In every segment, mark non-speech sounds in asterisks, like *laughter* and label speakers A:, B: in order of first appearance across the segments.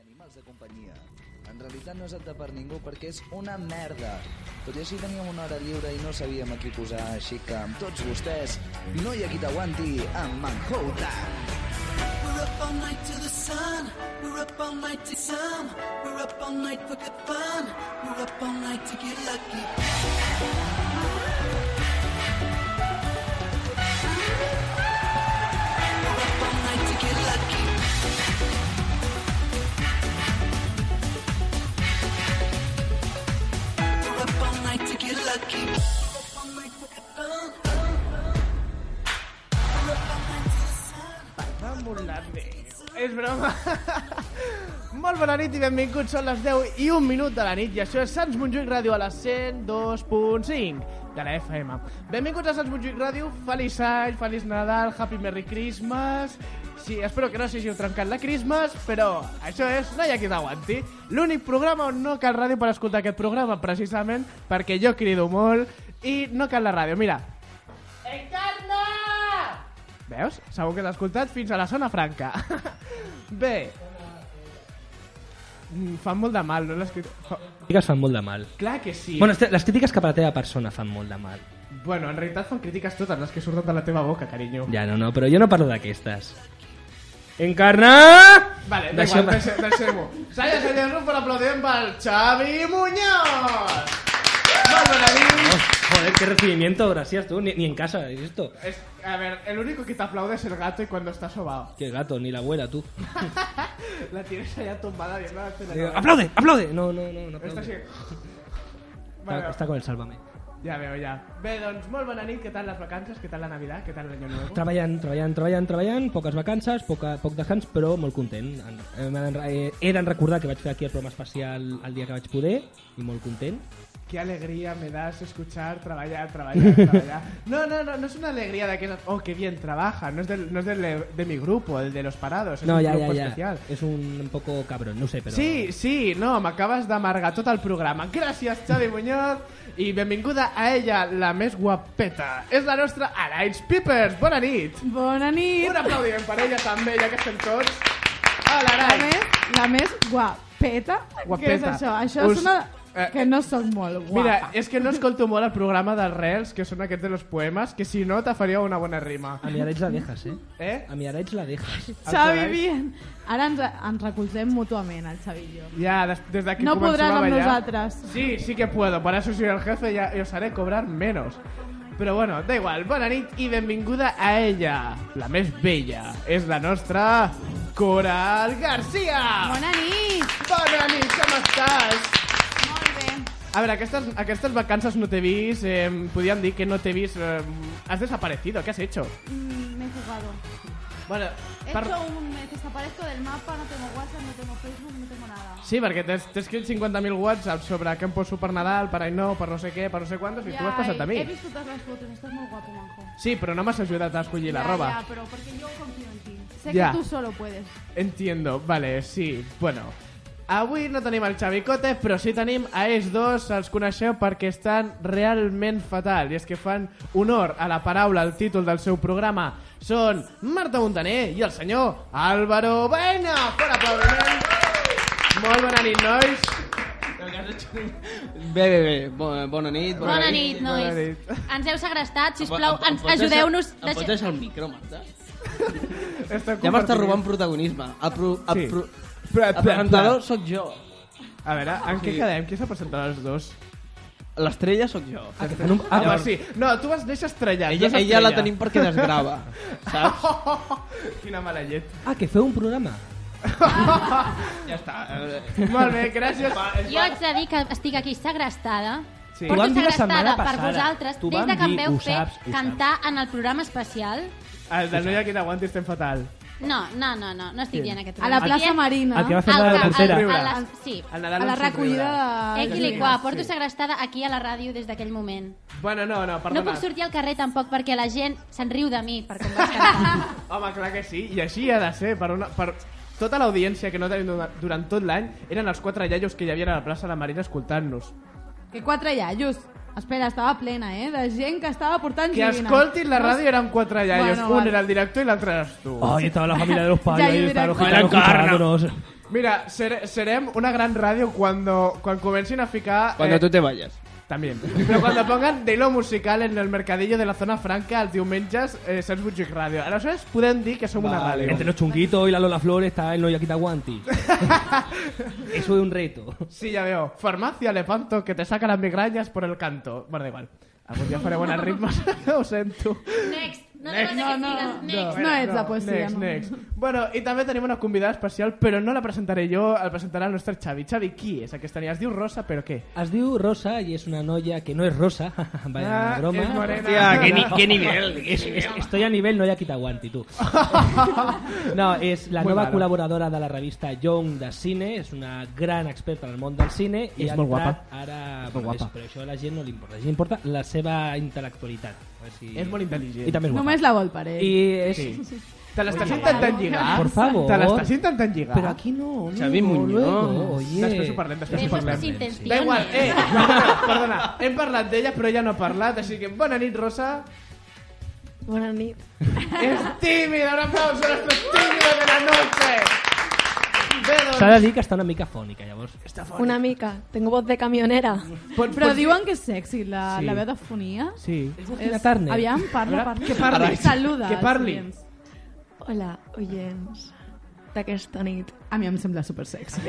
A: animals de companyia. En realitat no és apte per ningú perquè és una merda. Tot i així teníem una hora lliure i no sabíem a qui posar, així que amb tots vostès, no hi ha qui t'aguanti amb Manhoutan.
B: We're up all night to the sun. We're up all night to some. We're up all night for good fun. We're up all night to get lucky. We're up all night to get lucky. We're up all night to get lucky. We're up all night for good fun. We're up all night to the sun.
C: Vamos la neu. És broma. *laughs* Molt bona nit i benvinguts. Són les 10 i un minut de la nit i això és Sants Montjuïc Ràdio a la 102.5 de la FM. Benvinguts a Sants Montjuïc Ràdio. Feliç any, feliç Nadal, Happy Merry Christmas. Sí, espero que no s'hagi trencat la Christmas, però això és No hi ha qui t'aguanti. L'únic programa on no cal ràdio per escoltar aquest programa, precisament perquè jo crido molt i no cal la ràdio. Mira, Veus? Segur que l'has escoltat fins a la zona franca. *laughs* Bé. Mm, Fan molt de mal, no l'escrit... Fa...
D: crítiques fan molt de mal.
C: Clar que sí.
D: Bueno, este- les crítiques cap a la teva persona fan molt de mal.
C: bueno, en realitat fan crítiques totes les que surten de la teva boca, carinyo.
D: Ja, no, no, però jo no parlo d'aquestes. Encarna!
C: Vale, da
D: Deixeu-
C: igual, deixe- deixem-ho. Senyores i senyors, un fort aplaudiment pel Xavi Muñoz! Molt bona nit!
D: Joder, qué recibimiento, gracias tú, ni, ni en casa, ¿es esto?
C: Es, a ver, el único que te aplaude es el gato y cuando está sobado.
D: Qué gato, ni la abuela, tú.
C: La tienes allá tumbada viendo la tele.
D: Eh, ¡Aplaude, aplaude! No, no, no, no
C: Está así.
D: aplaude.
C: Vale,
D: Está, está con el sálvame.
C: Ja veo, ja. Bé, doncs, molt bona nit, què tal les vacances, què tal la Navidad, què tal l'any nou?
D: Treballant, treballant, treballant, treballant, poques vacances, poca, poc descans, però molt content. En- em- eh, He de recordar que vaig fer aquí el programa especial el dia que vaig poder, i molt content.
C: Qué alegría me das escuchar, trabajar, trabajar, trabajar. No, no, no, no es una alegría de que... Oh, qué bien trabaja, no es del, no es del, de mi grupo, el de los parados, es
D: No,
C: un
D: ja, ja,
C: grupo
D: ja.
C: especial.
D: És un, un poco cabrón, no ho sé, però...
C: Sí, sí, no, m'acabes d'amargar tot el programa. Gràcies, Xavi Muñoz, i benvinguda a ella, la més guapeta. És la nostra Alains Pipers, bona nit.
E: Bona nit!
C: Un aplaudiment per ella també, ja que estem tots. Hola,
E: La
C: Alains.
E: més, la més guapeta. Què és
C: eh? Guapeta.
E: això? Això
C: Us-
E: és una...
C: eh,
E: Que no sóc molt guapa.
C: Mira, és que no escolto molt el programa dels Rels, que són aquests de los poemes, que si no te faria una bona rima.
D: A mi ara ets la dejas, eh?
C: Eh?
D: A mi ara ets la dejas.
E: *laughs* Xavi,
C: Alright.
E: bien. Ara ens, ens recolzem mútuament, el Xavi i jo.
C: Ja, des, des d'aquí
E: No
C: comencem
E: podrán
C: a
E: amb
C: ballar.
E: nosaltres.
C: Sí, sí que puedo. Para eso soy el jefe ya- y os haré cobrar menos. Però bueno, da igual. Bona nit i benvinguda a ella. La més bella. És la nostra Coral Garcia.
E: Bona nit!
C: Bona nit, com estàs?
E: Molt bé.
C: A veure, aquestes, aquestes vacances no t'he vist, eh, podíem dir que no t'he vist... Eh, has desaparecido, què has hecho?
E: Mm, me he jugado.
C: Bueno,
E: He
C: per-
E: hecho un... Me desaparezco del mapa, no tengo WhatsApp, no tengo Facebook, no tengo nada.
C: Sí, perquè t'he t'he escrit 50.000 whatsapps sobre què em poso per Nadal, per any nou, per no sé què, per no sé quantos, i tu m'has passat a mi.
E: He visto todas las fotos, estás muy guapo, manjo.
C: Sí, però no m'has ajudat a escollir la
E: Ya,
C: roba.
E: Ya, pero porque yo confío en ti. Sé
C: Ya.
E: que tú solo puedes.
C: Entiendo, vale, sí, bueno. Avui no tenim el Xavicote, però sí tenim a ells dos, els coneixeu perquè estan realment fatal, i és que fan honor a la paraula, al títol del seu programa. Són Marta Montaner i el senyor Álvaro Baena! Fora aplaudiment! Molt bona nit, nois!
F: Bé, bé, bé. Bo- Bona nit.
G: Bona nit, nois.
C: Bona nit.
G: Ens heu
F: Em
G: segrestat,
F: po-
G: sisplau,
F: em- em
G: ens
F: pots deixar-
G: ajudeu-nos.
F: Em pots deixar el micro, Marta?
C: Esteu
F: Ja m'estàs
C: compartint.
F: robant protagonisme. El, pro, el,
C: Sí.
F: pro,
C: Però-
F: el presentador sóc jo.
C: A veure, en què quedem? Qui s'ha presentat els dos?
F: L'estrella sóc jo.
C: Ah, Home, sí. No, tu vas néixer estrellat.
F: Ella,
C: jo soc
F: ella la
C: estrella.
F: tenim perquè desgrava.
C: *laughs*
F: Saps?
C: Quina mala llet.
D: Ah, que feu un programa?
F: Ja està. eh,
C: Molt bé, gràcies.
G: Jo haig de dir que estic aquí segrestada.
C: Sí. Ho
G: Porto
D: vam dir la
G: segrestada
D: setmana
G: per
D: passada.
G: vosaltres
D: T'ho
G: des
D: vam
G: de que em
D: dir,
G: veu
D: ho
G: fer
D: saps, ho
G: cantar en el programa especial.
C: El del noi aquí t'aguanti estem fatal.
G: No, no, no, no, no estic dient aquest
E: A
G: programa.
E: la plaça
G: Estic
E: Marina.
D: El que va fer
G: dient
D: la
G: el-
D: tercera.
G: el- el- les- Sí.
C: El
E: A
C: Nadal
E: la
C: ens somriurà.
E: recollida... de-
G: Equiliquà, porto
C: Sí.
G: segrestada aquí a la ràdio des d'aquell moment.
C: Bueno, no, no, perdona.
G: No puc sortir al carrer tampoc perquè la gent se'n riu de mi per com vaig cantar.
C: Home, clar que sí, i així ha de ser. Per, una, per tota l'audiència que no tenim dura- durant tot l'any eren els quatre iaios que hi havia a la plaça de la Marina escoltant-nos.
E: Que quatre iaios. Espera, estava plena, eh? De gent que estava portant
C: Que
E: joguines.
C: escoltin la ràdio eren quatre iaios.
E: Bueno,
C: Un
E: vale.
C: era el director i l'altre eres tu.
D: Ay, estaba la familia de los
E: Ya,
D: padres, ahí
E: yo
D: estaba
E: diré-
D: los que estaban
F: Bueno,
D: escuchándonos.
C: Mira, sere- serem una gran ràdio quan quan comencin a ficar...
F: Cuando
C: eh,
F: tú te vayas.
C: También. Pero cuando pongan de lo musical en el mercadillo de la zona franca els diumenges, eh, Sants Montjuïc Ràdio. Aleshores podem dir que som una ràdio.
D: Entre los chunguitos y la Lola Flores está el no Yaquita Guanti. Eso es un reto.
C: Sí, ya veo. Farmacia Lepanto, que te saca las migrañas por el canto. Bueno, da igual. Algún día faré buenas ritmos, *laughs* ho sento.
G: Next. No, next.
E: No,
G: no,
E: no.
G: no. Next.
E: No ets la poesia,
C: Next,
E: no.
C: next. Bueno, i també tenim una convidada especial, però no la presentaré jo, la presentarà el nostre Xavi. Xavi, qui és aquesta nit? Es diu Rosa, però què?
D: Has diu *laughs* Rosa y es una noia que no es rosa. *laughs* Vaya
C: Ah,
D: broma.
C: és morena.
F: Hostia, qué, ni- qué nivel. qué nivel.
D: Estoy a nivel no Yaquita Guanti,
C: *laughs*
D: tú. No, és la
C: Molt
D: nova
C: mala.
D: col·laboradora de la revista Young de Cine, és una gran experta en el món del cine i
C: És
D: ha
C: molt
D: entrat
C: guapa.
D: ara...
C: És molt
D: bueno,
C: guapa.
D: és- però això a la gent no li importa, a la gent importa la seva intel·lectualitat. A veure Si...
C: És molt intel·ligent.
D: I també és guapa.
E: Només la vol per
C: ¿eh?
E: ell.
D: I és...
C: Sí. Te
D: pues,
C: l'estàs intentant lligar?
D: Por favor.
C: Te l'estàs intentant lligar?
D: Però aquí no, amigo,
F: Xavi Muñoz.
D: luego, oye.
C: Després ho parlem, després ho
G: Tenemos
C: parlem.
G: tus
C: Da
G: intenciones.
C: igual, eh, perdona, perdona, hem parlat d'ella però ella no ha parlat, així que bona nit, Rosa.
H: Bona nit.
C: És tímida, un aplauso a nuestros tímidos de la noche. Bé, doncs,
D: S'ha de dir que està una mica fònica, llavors.
H: Una mica. Tengo voz de camionera.
C: pot,
E: Però
C: pot-
E: diuen que és sexy, la,
C: Sí.
E: la veu de fonia.
C: Sí.
D: Tina Turner.
E: Aviam, parla,
C: A veure,
E: parla.
C: que parli.
E: Saluda.
C: Que
E: els
C: parli.
E: oients.
H: Hola, oients d'aquesta nit.
E: A mi em sembla
C: *laughs*
E: supersexy.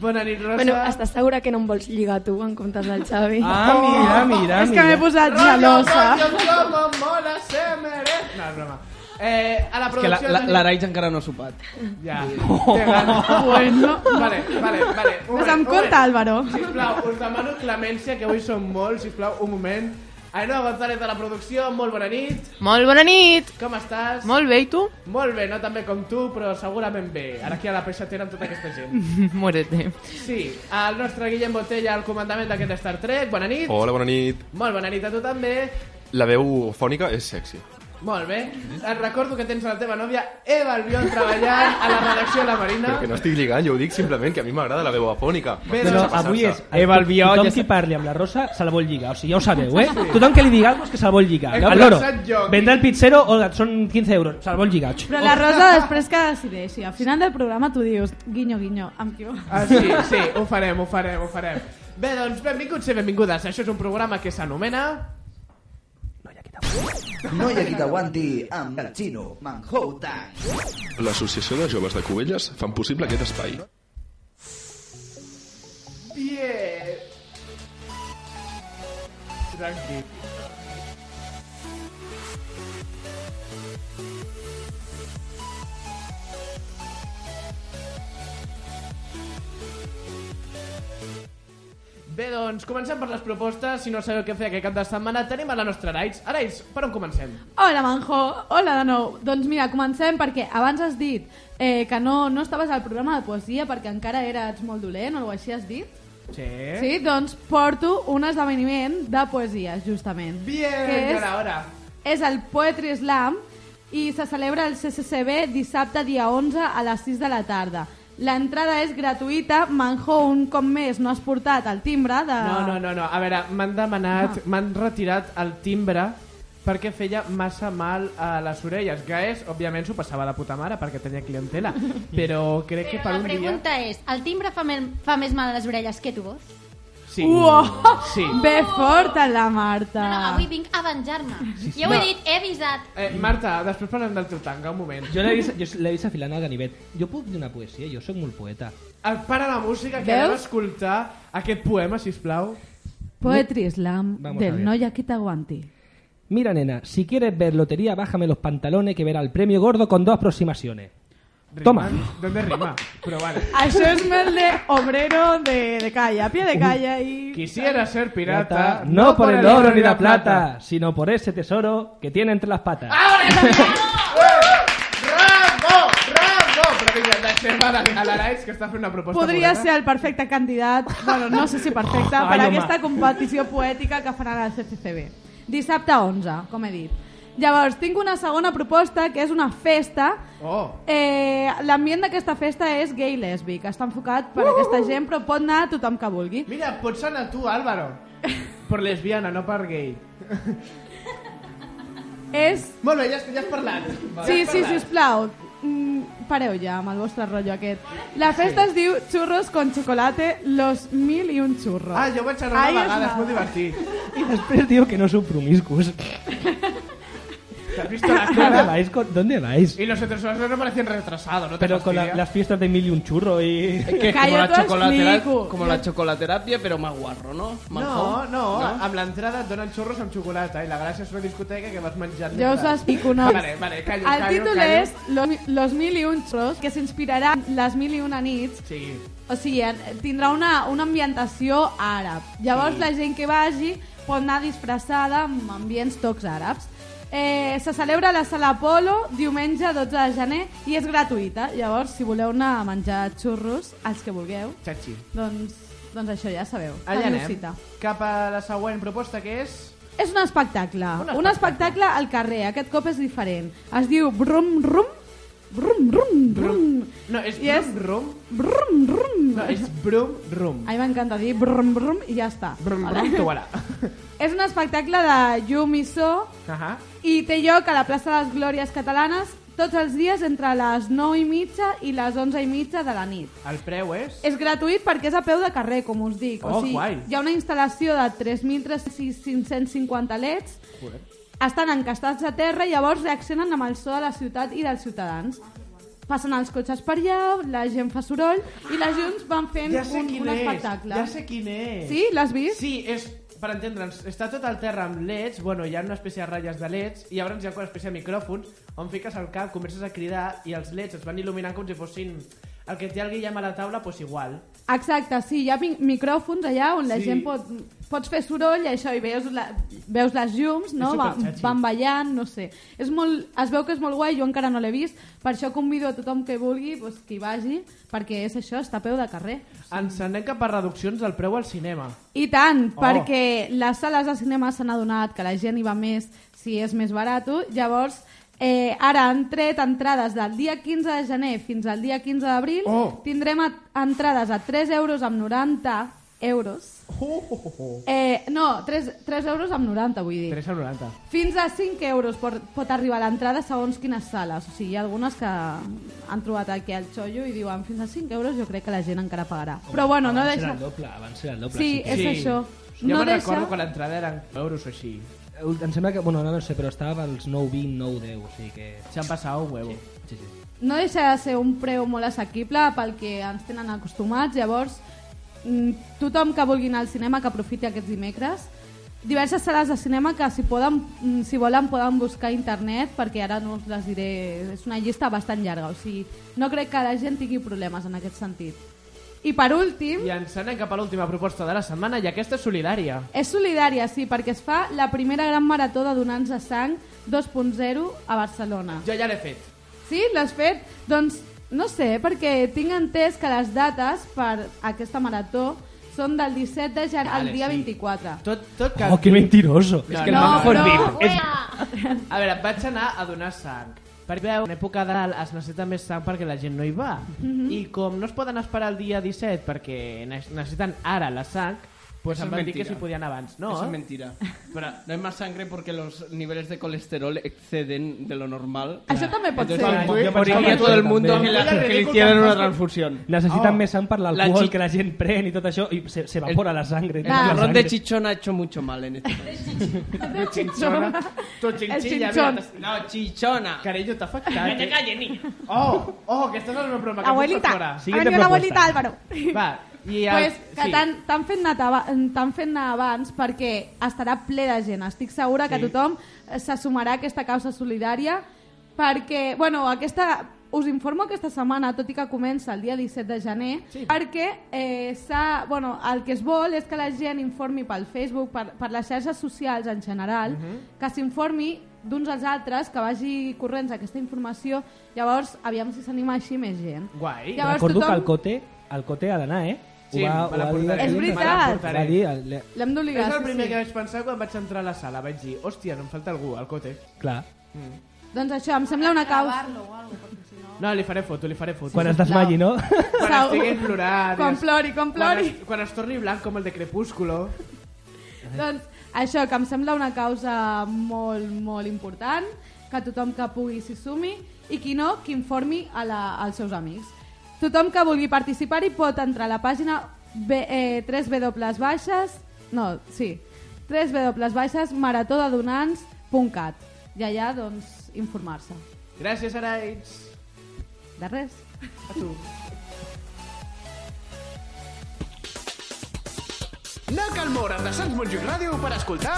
C: Bona nit, Rosa.
H: Bueno, estàs segura que no em vols lligar tu en comptes del Xavi?
D: Ah, mira, mira,
E: Oh, és que m'he posat gelosa.
C: Rollo, rollo, com mola, se merece... No, és broma. Eh, a
F: Que la-
C: la producció...
F: la-
C: tenim-
F: l'Araix encara no ha
C: *laughs*
F: sopat.
D: *laughs*
C: Ja. Té gana.
E: Bueno.
C: *laughs* Vale, vale, vale. Un
E: Ves
C: moment,
E: amb
C: un
E: compte,
C: moment.
E: Álvaro.
C: Sisplau, us demano clemència, que avui som molts, sisplau, un moment. Ainhoa González de la producció, molt bona nit.
I: Molt bona nit!
C: Com estàs?
I: Molt bé, *laughs* i tu?
C: Molt bé, no tan bé com tu, però segurament bé. Ara aquí a la peixatera amb tota aquesta gent.
I: Muérete.
C: Sí, el nostre Guillem Botella al comandament d'aquest Star Trek. Bona nit.
J: Hola, bona nit.
C: Molt bona nit a tu també.
J: La veu fònica és sexy.
C: Molt bé. Et recordo que tens la teva nòvia Eva Albiol treballant a la redacció de la Marina.
J: Però que no estic lligant, jo ho dic simplement que a mi m'agrada la veu afònica.
C: Bé,
D: Però
C: doncs,
D: avui és...
F: Eva Albiol,
D: Tothom
F: ja
D: qui
F: sa-
D: parli amb la Rosa se la vol lligar, o sigui, ja ho sabeu, eh? Tothom que li digui alguna cosa és que se la vol lligar.
C: He
D: Al loro.
C: començat jo.
D: Vendrà el pizzero o et són 15 euros, se la vol lligar.
E: Però la Rosa després que decideixi. Al final del programa tu dius, guinyo, guinyo, amb qui vols.
C: Ah, sí, sí, ho farem, ho farem, ho farem. Bé, doncs benvinguts i benvingudes. Això és un programa que s'anomena...
A: No hi ha qui t'aguanti amb el Xino Manhouta.
J: L'Associació de Joves de Cubelles fan possible aquest espai.
C: Bien. Tranqui. Bé, doncs, comencem per les propostes. Si no sabeu què fer aquest cap de setmana, tenim a la nostra Araix. Araix, per on comencem?
E: Hola, Manjo. Hola de nou. Doncs mira, comencem perquè abans has dit eh, que no, no estaves al programa de poesia perquè encara eres molt dolent o alguna cosa així has dit.
C: Sí.
I: Eh?
E: Sí, doncs porto un esdeveniment de poesia, justament.
C: Bien,
E: que
C: és...
E: és,
C: ara, ara.
E: és el Poetry Slam i se celebra el CCCB dissabte dia 11 a les 6 de la tarda. L'entrada és gratuïta, Manjo un cop més no has portat el timbre
G: Ah.
E: de...
C: No, no, no, no. A veure, m'han demanat, m'han retirat el timbre perquè feia massa mal a les orelles. Gaes, òbviament, s'ho passava de puta mare perquè tenia
G: *laughs*
C: clientela, però crec que per
G: Però la
C: un dia...
G: pregunta és, el timbre fa, men, fa més mal a les orelles que tu vols?
C: Sí.
E: Uau!
C: Sí.
E: Ve forta la
G: No,
E: Marta.
G: no, avui vinc a venjar-me. Ja ho
C: Ah. No.
G: he dit, he avisat.
C: Eh, Marta, després parlem del teu tanga, un moment.
D: Jo l'he vist, jo l'he vist afilant al ganivet. Jo puc dir una poesia, jo sóc molt poeta.
C: El para la música, que
E: Veus?
C: anem a escoltar aquest poema, si plau.
E: Poetry Slam
D: Vamos a
E: del
D: ver.
E: Noia que t'aguanti.
D: Mira, nena, si quieres ver lotería, bájame los pantalones que verá el premio gordo con dos aproximaciones. Toma.
C: D'on rima? Però vale.
E: Això és més de obrero de, de calle, a pie de calle i...
C: Quisiera ser pirata...
D: no, por, el oro ni la plata, sino por ese tesoro que tiene entre las patas. *laughs*
C: Rambo! Rambo! Però vinga, deixem a la- a l'Araix, que està fent una proposta
E: Podria
C: molt bona.
E: ser el perfecte candidat, bueno, no sé si perfecte,
D: Ai,
E: per
D: home.
E: aquesta competició poètica que faran al CCCB. Dissabte 11, com he dit. Llavors, tinc una segona proposta, que és una festa.
C: Oh.
E: Eh, L'ambient d'aquesta festa és gay lèsbic. Està enfocat per aquesta gent, però pot anar tothom que vulgui.
C: Mira, pots anar tu, Álvaro. Per lesbiana, no per gay.
E: És...
C: Molt bé, ja, has- ja has parlat. Ja
E: Sí,
C: has
E: sí,
C: parlat.
E: sisplau. mm, pareu ja amb el vostre rotllo aquest. La festa es diu Churros con chocolate, los mil y un churros.
C: Ah, jo vaig anar
E: Ahí
C: una
E: es
C: vegada, és
E: nada.
C: molt divertit.
D: Y después digo que no son promiscuos.
C: ¿Has visto las
D: ¿Dónde
C: caras?
D: vais? con- ¿Dónde vais?
C: Y los heterosexuales no parecen retrasados, ¿no te
D: Pero con la-
C: fastidia?
D: las fiestas de mil y un churro y...
F: Que es
E: Calla,
F: como la,
E: tú
F: chocolatera-
E: explico.
F: como la chocolaterapia, pero más guarro, ¿no? Más
C: No,
F: guau.
C: no, a amb l'entrada et donen xurros amb xocolata i la gràcia és una discoteca que vas menjant.
E: *laughs* Jo us ho
C: mentre.
E: explico, nois.
C: Vale, vale, callo,
E: El
C: callo,
E: títol
C: callo.
E: és Los, los mil y un churros, que s'inspirarà en les mil i una nits
C: Sí.
E: O sigui, en- tindrà una, una ambientació àrab. Llavors la gent que vagi pot anar disfressada amb ambients tocs àrabs. Eh, se celebra a la sala Apolo diumenge 12 de gener i és gratuïta. Llavors, si voleu anar a menjar xurros, els que vulgueu,
C: Chachi.
E: doncs, doncs això ja sabeu.
C: Allà
E: Teniu
C: anem.
E: cita.
C: Cap a la següent proposta, que és...
E: És un espectacle. Un espectacle.
C: espectacle.
E: un espectacle al carrer. Aquest cop és diferent. Es diu Brum Rum. Brum Rum Brum.
C: No, és
E: I és-
C: Brum Rum.
E: Brum Rum.
C: No, és Brum Rum.
E: A mi m'encanta dir brum brum i ja està.
C: Brum
E: Vale?
C: Rum, tu ara.
E: És un espectacle de llum i so
C: Ahà.
E: i té lloc a la plaça de les Glòries Catalanes tots els dies entre les 9 i mitja i les 11 i mitja de la nit.
C: El preu és...
E: És gratuït perquè és a peu de carrer, com us dic.
C: Oh,
E: o sigui,
C: guai.
E: hi ha una instal·lació de 3.550 leds estan encastats a terra i llavors reaccionen amb el so de la ciutat i dels ciutadans. Passen els cotxes per allà, la gent fa soroll i les junts van fent
C: Ja sé
E: un,
C: quin
E: un
C: és.
E: espectacle.
C: Ja sé quin és.
E: Sí? L'has vist?
C: Sí, és per entendre'ns, està tot al terra amb leds, bueno, hi ha una espècie de ratlles de leds, i llavors hi ha una espècie de micròfons on fiques el cap, comences a cridar i els leds es van il·luminant com si fossin el que té el Guillem a la taula, doncs igual.
E: Exacte, sí, hi ha mi- micròfons allà on la
C: Sí.
E: sí. gent pot, pots fer soroll i això, i veus, la, veus les llums, no?
C: És
E: Va,
C: superxachi.
E: van ballant, no sé. És molt, es veu que és molt guai, jo encara no l'he vist, per això convido a tothom que vulgui, doncs, que hi vagi, perquè és això, està a peu de carrer.
C: Ens anem cap a reduccions del preu al cinema.
E: I tant,
C: Oh.
E: oh. perquè les sales de cinema s'han adonat que la gent hi va més si és més barat, llavors eh, ara han tret entrades del dia 15 de gener fins al dia 15 d'abril,
C: Oh.
E: tindrem a, entrades a 3 euros amb 90 euros,
C: Oh, oh, oh.
E: eh, no, 3, 3 euros amb 90 vull dir,
C: 3 a 90.
E: fins a 5 euros pot, pot arribar l'entrada segons quines sales, o sigui, hi ha algunes que han trobat aquí al xollo i diuen fins a 5 euros jo crec que la gent encara pagarà, però bueno, no
D: Abans era
E: deixa...
D: el doble, abans era el doble.
E: Sí, és
C: Sí.
E: això.
C: Jo
E: no
C: me'n
E: deixa...
C: recordo quan l'entrada eren euros o així.
D: Eh, Em sembla que, bueno, no, no sé, però estava als 9, 20, 9, 10, o sigui que...
C: S'han passat un huevo.
D: Sí, sí.
E: no deixa de ser un preu molt assequible pel que ens tenen acostumats, llavors mm, tothom que vulgui anar al cinema que aprofiti aquests dimecres diverses sales de cinema que si, poden, mm, si volen poden buscar a internet perquè ara no us les diré, és una llista bastant llarga, o sigui, no crec que la gent tingui problemes en aquest sentit. I per últim,
C: I ens anem cap a l'última proposta de la setmana, i aquesta és solidària.
E: és solidària, sí, perquè es fa la primera gran marató de donants de sang 2.0 a Barcelona.
C: Jo ja l'he fet.
E: Sí, l'has fet? Doncs no sé, perquè tinc entès que les dates per aquesta marató són del 17 de gener al
C: Vale,
E: dia
C: sí.
E: 24.
C: Tot, tot que...
D: Oh, que mentiroso.
C: És que
E: No,
C: no,
E: però-
C: A veure, vaig anar a donar sang. Perquè veu, en època de Nadal es necessita més sang perquè la gent no hi va.
E: Mhm.
C: I com no es poden esperar el dia 17 perquè ne- necessiten ara la sang, doncs
F: Eso
C: em
F: Pues es
C: van dir que
F: mentira.
C: si podien abans. No,
F: Eso es
C: eh?
F: mentira. no hay más sangre porque los niveles de colesterol exceden de lo normal.
E: Això també pot
F: Entonces,
E: ser.
D: clar,
F: como-
D: jo
F: como
D: pensava
F: que todo el
D: també.
F: mundo que,
C: Era
F: la- que le
C: ridícul
F: hicieran
C: tampoco.
F: una transfusión. Ah,
D: Necessitan
C: Oh.
D: més sang per
F: La
D: l'alcohol
F: chi-
D: que la gent pren i tot això i se, se evapora
F: El-
D: la sangre.
F: El
E: Va.
D: La
F: turrón de
D: sangre.
F: chichón ha hecho mucho mal en este país.
E: El xinxona.
C: Tu
E: El
C: xinxilla,
E: xinxon.
C: mira,
F: No, chichona.
C: Carello, t'ha afectat. eh?
F: calles, niña.
C: Oh, oh, que estàs en el problema. que
E: L'abuelita.
C: em fas
E: Ha
D: Siguiente
E: venido la
D: propuesta.
E: abuelita, Álvaro.
C: fora. Va, i el...
E: pues que t'han t'han fet, anar tava- t'han fet anar abans perquè estarà ple de gent. Estic segura que
C: Sí.
E: tothom eh, s'assumarà a aquesta causa solidària perquè, bueno, aquesta... Us informo aquesta setmana, tot i que comença el dia 17 de gener,
C: Sí.
E: perquè eh, s'ha- bueno, el que es vol és que la gent informi pel Facebook, per, per les xarxes socials en general,
C: Mhm.
E: que s'informi d'uns als altres, que vagi corrents aquesta informació, llavors aviam si s'anima així més gent.
C: Guai.
E: Llavors
D: Recordo
E: tothom-
D: que el Cote, el Cote ha d'anar, eh? Ho
C: Sí,
D: va,
C: me
D: ho va
C: la
D: dir,
C: portaré.
E: És
C: Me la
E: veritat.
D: Ho
C: portaré.
D: va dir, el, le-
E: L'hem d'obligar.
C: És el
E: sí,
C: primer
E: sí.
C: que vaig pensar quan vaig entrar a la sala. Vaig dir, hòstia, no em falta algú, al Mm. cote.
D: clar.
E: Doncs això, em sembla una causa...
C: No, li faré foto, li faré foto.
D: Quan es desmalli, no?
C: quan
E: Segur.
C: estigui plorant.
E: Com plori, com plori.
C: Quan es, quan es torni blanc com el de Crepúsculo.
E: Doncs això, que em sembla una causa molt, molt important, que tothom que pugui s'hi sumi i qui no, que informi a la, als seus amics. Tothom que vulgui participar-hi pot entrar a la pàgina B, eh, 3 W baixes... No, sí. 3 W baixes maratodadonants.cat i allà, doncs, informar-se.
C: Gràcies, Araits.
E: De res.
C: A tu.
F: eh.
I: No cal moure's de Sants Montjuïc Ràdio per escoltar...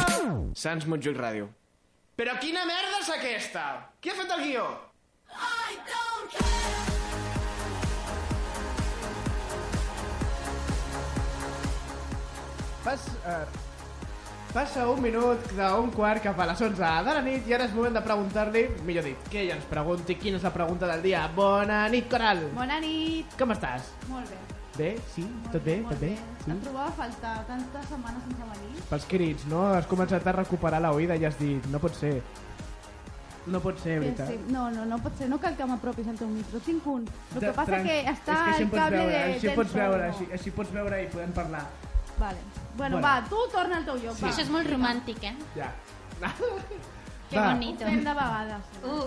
I: Sants Montjuïc Ràdio. Però quina merda és aquesta? Qui ha fet el guió?
C: Pas, eh, passa un minut d'un quart cap a les 11 de la nit i ara és moment de preguntar-li, millor dit, que ella ens pregunti quina és la pregunta del dia. Bona nit, Coral!
E: Bona nit.
C: Com estàs?
E: Molt bé.
C: Bé? Sí? Tot bé? Tot bé? Sí?
E: Em trobava a faltar tantes setmanes sense venir.
C: Pels crits, no? Has començat a recuperar la oïda i has dit, no pot ser. No pot ser, veritat.
K: Sí, no, no, no
E: pues,
K: pot ser, no cal que m'apropis al teu micro, tinc un. El que
C: Tra-
K: passa
C: tran-
K: que està
C: és que així
K: el
C: em pots
K: cable
C: veure,
K: de,
C: així
K: del
C: pots veure,
K: sonido.
C: així, així pots veure i podem parlar.
K: Vale. Bueno,
C: Bueno.
K: va, tu torna al teu lloc,
C: Sí.
K: va.
G: Això és molt romàntic, eh?
C: Ja.
G: Que
C: Va.
G: bonito.
K: Ho fem de vegades.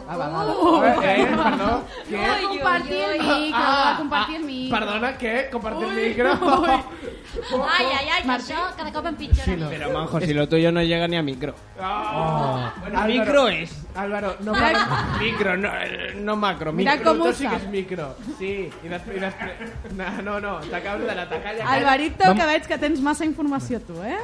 C: Ah, va, va,
K: uh,
C: va. Eh, eh,
K: *laughs*
C: perdó. Què?
K: Ui, ui, compartir el micro,
C: Ah,
K: va, compartir el
C: ah,
K: micro.
C: Perdona, què? Compartir el
K: Ui,
C: micro?
K: ui.
C: *laughs*
G: Ai, ai, ai, que això cada cop empitjora.
C: Sí, no.
F: Pero Manjo, si lo tuyo no llega ni a micro.
C: Oh.
F: Bueno, Ah, micro es.
C: Álvaro, no para...
F: *laughs* Micro, no, eh, no macro, micro.
C: Micro, tu sí que és micro. Sí, i després... I després... No, no, no, t'acabo de la tacalla.
E: Alvarito, que veig que tens massa informació tu, eh?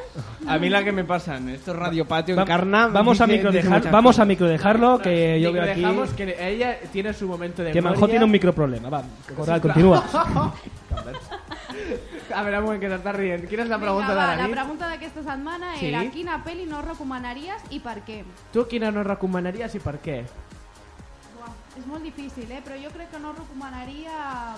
F: A mí la que me pasan, esto es Radio Patio,
D: Va-
F: encarna.
D: vamos a
F: dice-
D: micro
F: dice
D: dejar-
F: muchas
D: vamos
F: cosas.
D: a micro dejarlo,
F: Eh,
D: que yo veo aquí-
C: Dejamos que ella tiene su momento de
D: Que Manjo
C: gloria.
D: tiene un microproblema. Va, Coral,
C: Sisplau.
D: continúa.
C: *laughs*
D: *laughs*
C: A veure, un moment, que t'estàs rient. Quina és la pregunta
K: Vinga, va,
C: de la
K: la
C: nit?
K: pregunta d'aquesta setmana
C: Sí.
K: era quina pel·li no recomanaries i per què?
C: Tu quina no recomanaries i per què?
K: Buah, és molt difícil, eh? Però jo crec que no recomanaria...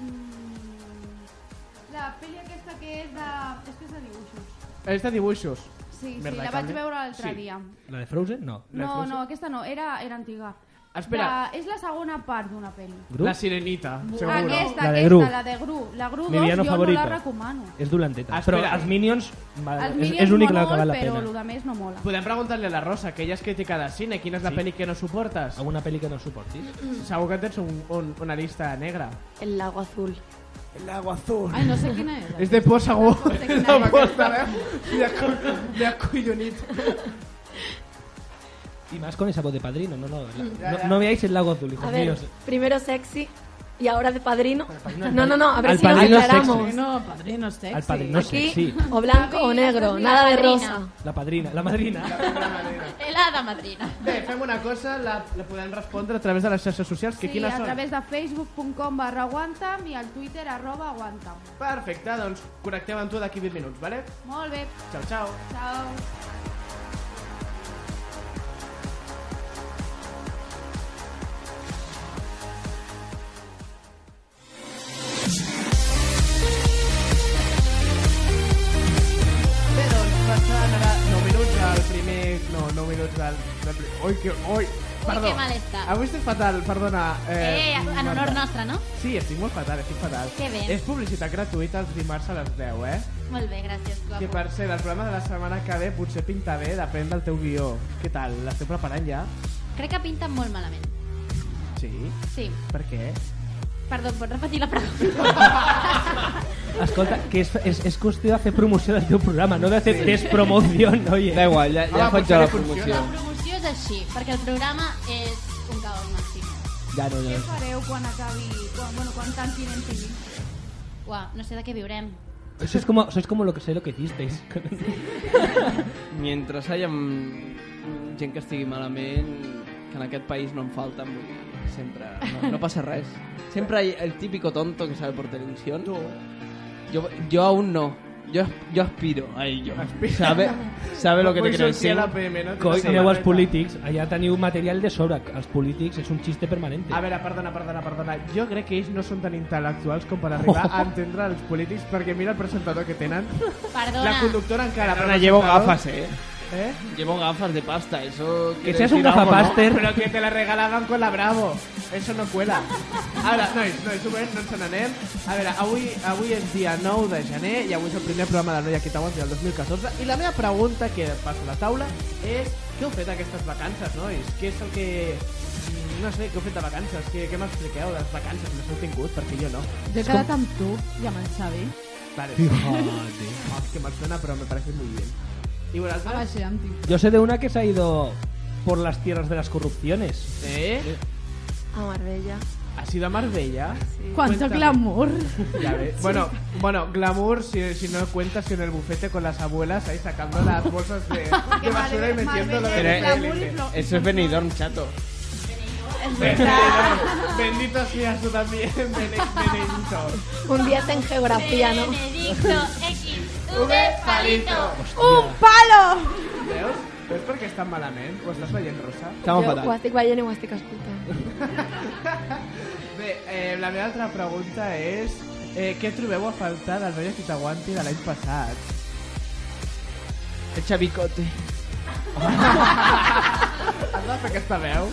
K: Mm, la pel·li aquesta que és de... És que és de dibuixos.
C: És de dibuixos.
K: Sí,
C: Merda,
K: sí, la
C: cable.
K: vaig veure l'altre dia.
D: ¿La de Frozen? No.
K: No, no, aquesta no, era, era antiga.
C: Espera.
K: La, és la segona part d'una pel·li.
D: Gru?
C: La sirenita, segur.
K: Aquesta, aquesta,
D: La
K: la
D: de
K: de Gru,
D: Gru.
K: la, de Gru. la Gru 2
D: Mi villano
K: jo
D: favorito.
K: no la recomano.
D: És dolenteta.
C: Ah, Espera.
D: Però els Minions, va,
K: Els
D: és,
K: Minions
D: és l'únic
K: mola
D: que val
K: molt,
D: la
K: però
D: pena.
K: el de més no mola.
C: Podem preguntar-li a la Rosa, que ella és crítica de cine, quina és la
D: Sí.
C: pel·li que no suportes?
D: Alguna pel·li que no suportis?
C: Segur que tens un, un, una lista negra.
H: El lago azul.
C: El lago azul.
E: Ai, no sé quina
C: *laughs*
E: és.
C: És de por segur.
K: sé quina
C: *laughs* No
K: és.
C: pot saber.
E: *laughs*
C: M'he aco- M'he acollonit.
D: Y más con esa voz de padrino. No, no, la-
C: Ya,
D: no,
C: ya.
D: no veáis el lago azul,
H: A
D: hijos
H: ver,
D: míos.
H: primero sexy y ahora de padrino. No, no, no, a ver
D: Al
H: si nos
D: padrino es
H: aclaramos.
D: sexy.
E: No, padrino sexy.
D: Al padrino
H: Aquí,
D: sexy.
H: o blanco o negro, nada de
G: Padrina.
H: rosa.
D: La padrina, la madrina.
G: Helada madrina.
C: Bé, fem una cosa, la, la podem respondre a través de les xarxes socials, que
K: Sí,
C: quines
K: a
C: són?
K: través de facebook.com barra aguanta'm i al twitter arroba aguanta'm.
C: Perfecte, doncs connectem amb tu d'aquí 20 minuts, vale?
K: Molt bé,
C: Ciao, ciao.
K: ciao.
C: Bé, doncs, passant ara 9 minuts al primer... No, 9 minuts al... del pri- Ui, que... Ui, perdó.
G: que mal està.
C: Avui estic fatal, perdona.
G: Eh, en honor
C: Marta.
G: nostre, no?
C: Sí, estic molt fatal, estic fatal.
G: Que bé.
C: És publicitat gratuïta els dimarts a les 10, eh?
G: Molt bé, gràcies,
C: Que
G: guapo.
C: per ser el programa de la setmana que ve potser pinta bé, depèn del teu guió. Què tal? L'esteu preparant ja?
G: Crec que pinta molt malament.
C: Sí.
G: Sí.
C: Per què?
G: Perdó, pots repetir la pregunta?
D: Escolta, que és, és, és qüestió de fer promoció del teu programa, no de fer despromoció, oye.
F: Da igual, ya, ya
C: Ah,
F: faig
C: potser
F: jo la
C: li funciona.
G: La
F: promoció.
G: promoció és així, perquè el programa és un caos màxim.
D: Ja no,
K: Què
D: ja. no.
K: fareu quan acabi... Quan, bueno, quan tanquin MTV?
G: Uau, no sé de què viurem.
D: Sois como, sois como lo que sé lo que hicisteis.
F: Mientras haya mm, gent que estigui malament, que en aquest país no en falten, vull dir, sempre, no, no passa res. Sempre hay el típico tonto que sale por televisión. Yo, yo aún no. Yo, yo aspiro a ello. ¿Sabe, sabe lo que te
C: Vull
F: quiero decir?
C: sortir Pues a la PM, no?
D: Coi,
C: Una
D: aneu als
C: setmaneta.
D: polítics, allà teniu material de sobra. Els polítics és un xiste permanent.
C: A veure, perdona, perdona, perdona. Jo crec que ells no són tan intel·lectuals com per arribar *laughs* a entendre els polítics, perquè mira el presentador que *laughs* tenen.
G: Perdona.
C: La conductora encara. però
F: Perdona,
C: el
F: llevo
C: presentador-
F: gafas, eh.
C: ¿Eh?
F: Llevo gafas de pasta, eso...
D: Que
F: quiere
D: seas un
F: decir algo, ¿no?
D: gafapaster.
C: Pero que te la regalaban con la Bravo. Eso no cuela. Ara, nois, nois, un moment, no ens n'anem. A veure, avui, avui és dia 9 de gener i avui és el primer programa de Noia que t'aguanti del 2014 i la meva pregunta que passo a la taula és què heu fet aquestes vacances, nois? Què és el que... mm, no sé, què heu fet de vacances? Què, què m'expliqueu de les vacances? Les heu tingut? Perquè jo no.
E: Jo he quedat amb tu i amb en Xavi.
C: Vale.
D: Fíjate.
C: Oh, es que me suena, pero me parece muy bien. ¿Y
E: A
C: vosaltres?
E: baixar amb tu.
D: Yo sé de una que se ha ido por las tierras de las corrupciones.
C: ¿Eh?
H: A Marbella.
C: ¿Has ido a Marbella?
E: Quanto
C: Cuéntame.
E: glamour.
C: Ya ves. Bueno, bueno, glamour, si, si no cuentas que en el bufete con las abuelas ahí sacando las bolsas de, de basura y metiéndolo
F: Pero,
C: de
F: eh, eso es Benidorm, chato.
C: *laughs* Bendito seas tú también, *laughs* Bene- Benedito.
H: Un 10 en geografía, ¿no? *laughs*
C: *laughs*
G: X,
C: V, palito.
E: Un palo!
C: Veus? Veus per què estan malament? Ho estàs veient, Rosa?
H: Jo Ho estic veient i ho estic escoltant.
C: Bé, eh, la meva altra pregunta és eh, què trobeu a faltar del Noia que t'aguanti de l'any
H: *laughs*
C: passat?
F: El Chavicote.
C: Has de fer aquesta veu?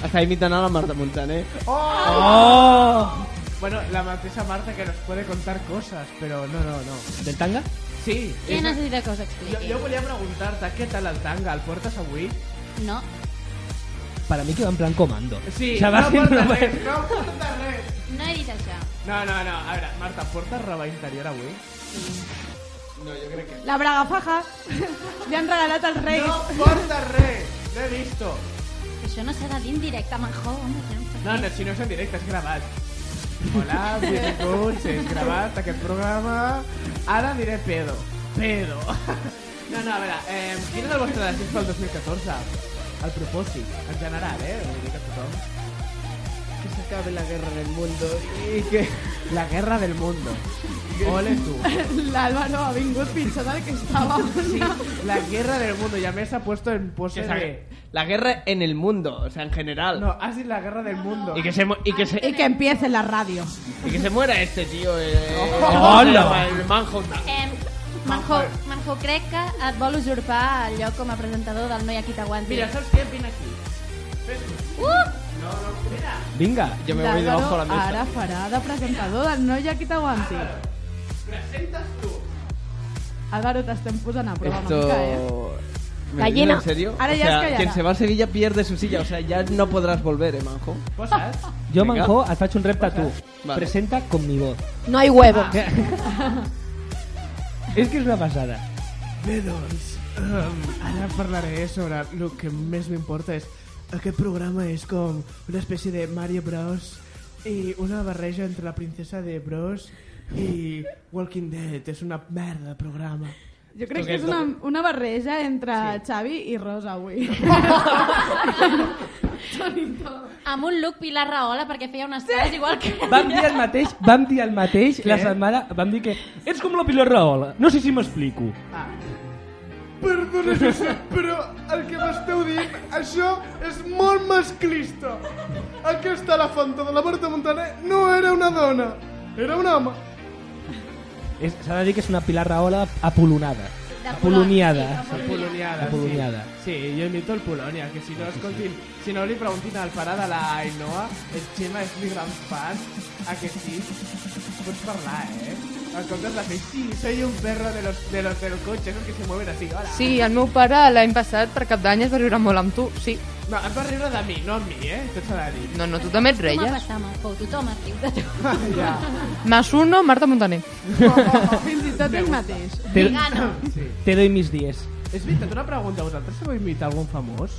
F: Està imitant a la Marta Montaner.
C: Oh! Bueno, la mateixa Marta que nos puede contar cosas, pero no, no, no.
D: ¿Del tanga?
C: Sí.
G: Què
C: és-
G: necessita que us expliqui?
C: Jo, jo volia preguntar-te, què tal el tanga? El portes avui?
G: No.
D: Para mí que va en plan comando.
C: Sí,
D: O sea, va
C: no
D: haciendo-
C: porta res, no porta res.
G: No he dit això.
C: No, no, no, a veure, Marta, portes roba interior avui? No, jo crec que...
E: La braga *laughs* faja. Li han regalat *laughs* els reis.
C: No porta res, l'he visto.
G: Això no s'ha de dir en directe, Manjou, home, que no em fa
C: No, no, si no és en directe, és gravat. Hola, benvinguts, és gravat aquest programa. Ara diré pedo. Pedo. *laughs* No, no, a veure, eh, quin és el vostre desig pel 2014? El propòsit, en general, eh? Vull dir que tothom... Que s'acabi la guerra del mundo i que... La guerra del mundo. Ole tu.
E: L'Àlvaro ha vingut pitjor del que estava.
C: *laughs* Sí, la guerra del mundo. I a més s'ha puesto en pose
F: Que
C: de...
F: s'ha- La guerra en el mundo, o sea, en general.
C: No, has dit la guerra del mundo.
F: Y que se, mu- y que se,
E: I que empiece la ràdio.
F: y que se muera este tío. eh,
D: hola.
F: El manjo.
G: Em, Manjou,
C: eh.
G: Manjou, crec que et vol usurpar el lloc com a presentador del Noi aquí t'aguanti.
C: Mira, saps què? Vine aquí.
G: Uh!
D: Venga.
F: Yo me voy debajo de la mesa.
E: ara farà de presentador del Noi aquí t'aguanti.
C: Presentes tu.
E: Álvaro, t'estem posant a prova una mica, eh?
F: Esto... ¿Me
H: Gallina.
F: dices ¿En serio?
E: Ahora
F: o
E: ya es
F: sea,
E: callada.
F: quien se va a Sevilla pierde su silla. O sea, ya no podrás volver, eh, manjo.
C: Poses?
D: Yo,
F: Venga.
D: Manjo, has hecho un repta tú.
F: Vale.
D: Presenta con mi voz.
H: No hay huevos.
D: Ah. Es que es una pasada.
C: Bé, doncs, um, ara parlaré sobre el que més m'importa és aquest programa és com una espècie de Mario Bros i una barreja entre la princesa de Bros i Walking Dead. És una merda de programa.
E: Jo crec que és una, una barreja entre Xavi i Rosa avui.
F: *laughs*
G: Amb un look Pilar Rahola perquè feia unes cares igual que...
D: Vam dir el mateix, vam dir el mateix la setmana, vam dir que ets com la Pilar Rahola. No sé si m'explico.
I: Perdona, Josep, però el que m'esteu dient, això és molt masclista. Aquesta elefanta de la Marta Montaner no era una dona, era un home.
D: És- S'ha de dir que és una Pilar Rahola apolonada.
G: De
D: Apoloniada.
G: Polònia, sí, de Polònia.
C: Poloniada,
D: La Poloniada.
C: Sí. sí, jo imito el Polònia, que si no, escoltin, si no li preguntin al pare de la Ainhoa, el Xema és mi gran fan, a que sí? Pots parlar, eh? En comptes de fer, sí, soy un perro de los, de los del cotxe, esos que se mueven así, hola.
L: Sí, el meu pare l'any passat per cap d'any es va riure molt amb tu, sí.
C: No, em va riure de mi, no amb mi, eh? Tot s'ha de dir.
L: No, no, tu també et
G: Tu m'ha
L: reies.
G: passat, Manjou, tothom es riu de tu.
C: Ah, Ja.
L: Más uno, Marta
I: *laughs*
L: Montaner.
E: Fins i tot ell mateix.
D: Te,
I: Ah,
G: Vegano.
D: te doy mis 10.
C: És veritat, una pregunta, vosaltres sabeu imitar algun famós?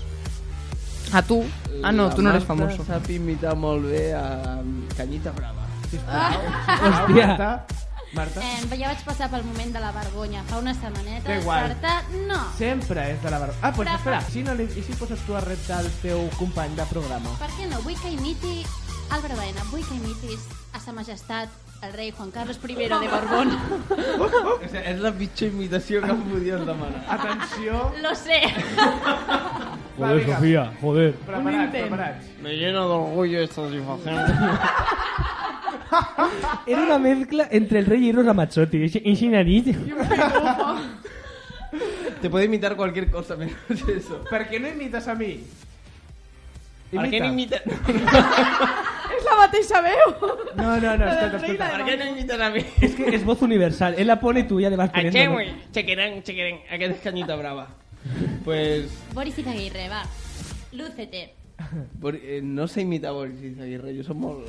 L: A tu. Ah, no,
F: Eh, La
L: tu no eres
F: Marta
L: famoso.
F: Sap imitar molt bé a Canyita Brava. Ah,
L: *laughs*
D: Hòstia.
C: Marta? Marta?
G: Em, ja vaig passar pel moment de la vergonya fa unes setmanetes.
C: Da igual.
G: Per tant, no.
C: Sempre és de la barba. Ah, doncs espera, si no li, i si poses tu a repte al teu company de programa?
G: Per què no? Vull que imiti Álvaro Baena, vull que imitis a sa majestat el rei Juan Carlos I de Borbón.
F: És, és la pitjor imitació que em podies
L: *laughs*
F: demanar.
C: Atenció,
G: Lo sé.
C: Joder, vinga.
D: Sofía, joder.
C: preparats, preparats.
F: Me llena d'orgullo esta satisfacción.
D: Era una mezcla entre el rey y Rosa Mazzotti. Ese- ese nariz.
F: *laughs* Te puede imitar cualquier cosa menos eso.
C: Per què no imites a mi?
F: ¿Para qué no
C: Imita.
F: imitas?
C: *laughs*
E: És la mateixa veu!
C: No, no, no, escolta,
E: rei
C: escolta.
F: ¿Para qué no imitas a mí?
D: Es que es voz universal. Él la pone y tú ya le vas
F: A
D: poniendo. ¿no?
F: Chewy, chequerán, chequerán, a qué descañita brava. Pues
G: Boris Izaguirre, va. Lúcete.
F: Bor- eh, No sé imitar Boris Aguirre, jo soc molt,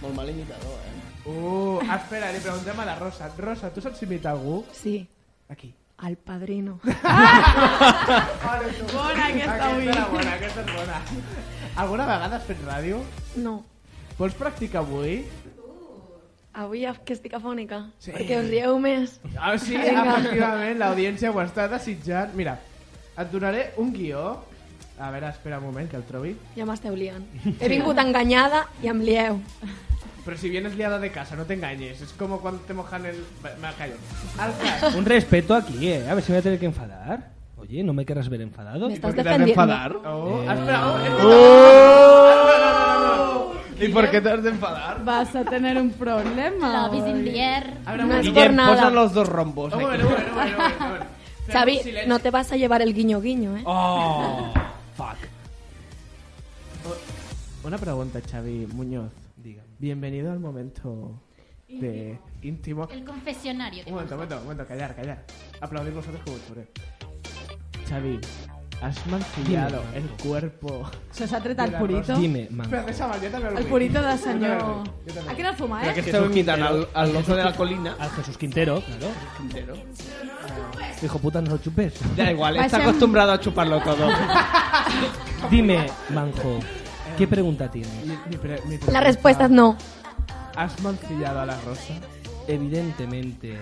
F: molt mal imitador, eh?
C: Uh, espera, li preguntem a la Rosa. Rosa, tu saps imitar algú?
H: Sí.
C: Aquí.
H: El padrino.
C: Bona aquesta avui. Aquesta era bona, aquesta és bona. *laughs* Alguna vegada has fet ràdio?
H: *laughs* No.
C: Vols practicar avui?
H: Avui ja que estic afònica, sí. perquè us rieu més.
C: Ah, sí,
H: Vinga.
C: efectivament, l'audiència ho està desitjant. Mira, et donaré un guió. A veure, espera un moment que el trobi.
H: Ja m'esteu
D: *laughs*
H: liant. He vingut enganyada i em lieu.
C: Però si vienes liada de casa, no t'enganyes. És com quan te mojan el... Va, Me callo. Al cas.
D: Un respeto aquí, eh. A ver si me voy a tener que enfadar. Oye, ¿no me querrás ver enfadado?
H: ¿Me estás
D: ¿Por qué
H: defendiendo?
C: Oh, espera, oh,
D: Eh.
C: espera. Oh. ¿Y por qué te has de enfadar?
E: Vas a tener un problema. La
G: Love is in the
E: air.
F: Guillem, posa los dos rombos.
C: Un
F: aquí.
C: moment, un moment, un moment, un moment, un moment.
H: Xavi, no te vas a llevar el guiño guiño, ¿eh?
D: Oh, fuck.
C: Una pregunta, Xavi Muñoz. Bienvenido al momento de íntimo.
G: El confesionario.
C: Un momento, un momento, un momento, callar, callar. Aplaudir vosotros como churé. Xavi, has mancillado
D: Dime,
C: el cuerpo.
E: Se s'ha tret el
C: de la
E: purito?
C: Rosa.
D: Dime, Manco.
C: Espera, deixa'm, jo també el
E: El
C: vull.
E: purito de
C: Jo també el
E: senyor...
C: vull, jo també.
E: Aquí no fuma,
D: Pero
E: eh?
D: que
F: estaba
D: Jesús
F: imitando
D: Quintero.
F: al- al
D: Jesús
F: oso de la
D: Quin-
F: colina.
D: Al Jesús Quintero, claro.
F: Quintero.
D: Hijo puta, no lo chupes.
F: Da
D: *laughs*
F: igual,
D: Va
F: está
D: a ser un-
F: acostumbrado a chuparlo todo.
D: *laughs* Dime, Manjo, ¿qué pregunta tienes?
C: Mi- mi pre- mi
H: La
C: pregunta-
H: respuesta es no.
C: ¿Has mancillado a la rosa?
D: Evidentemente,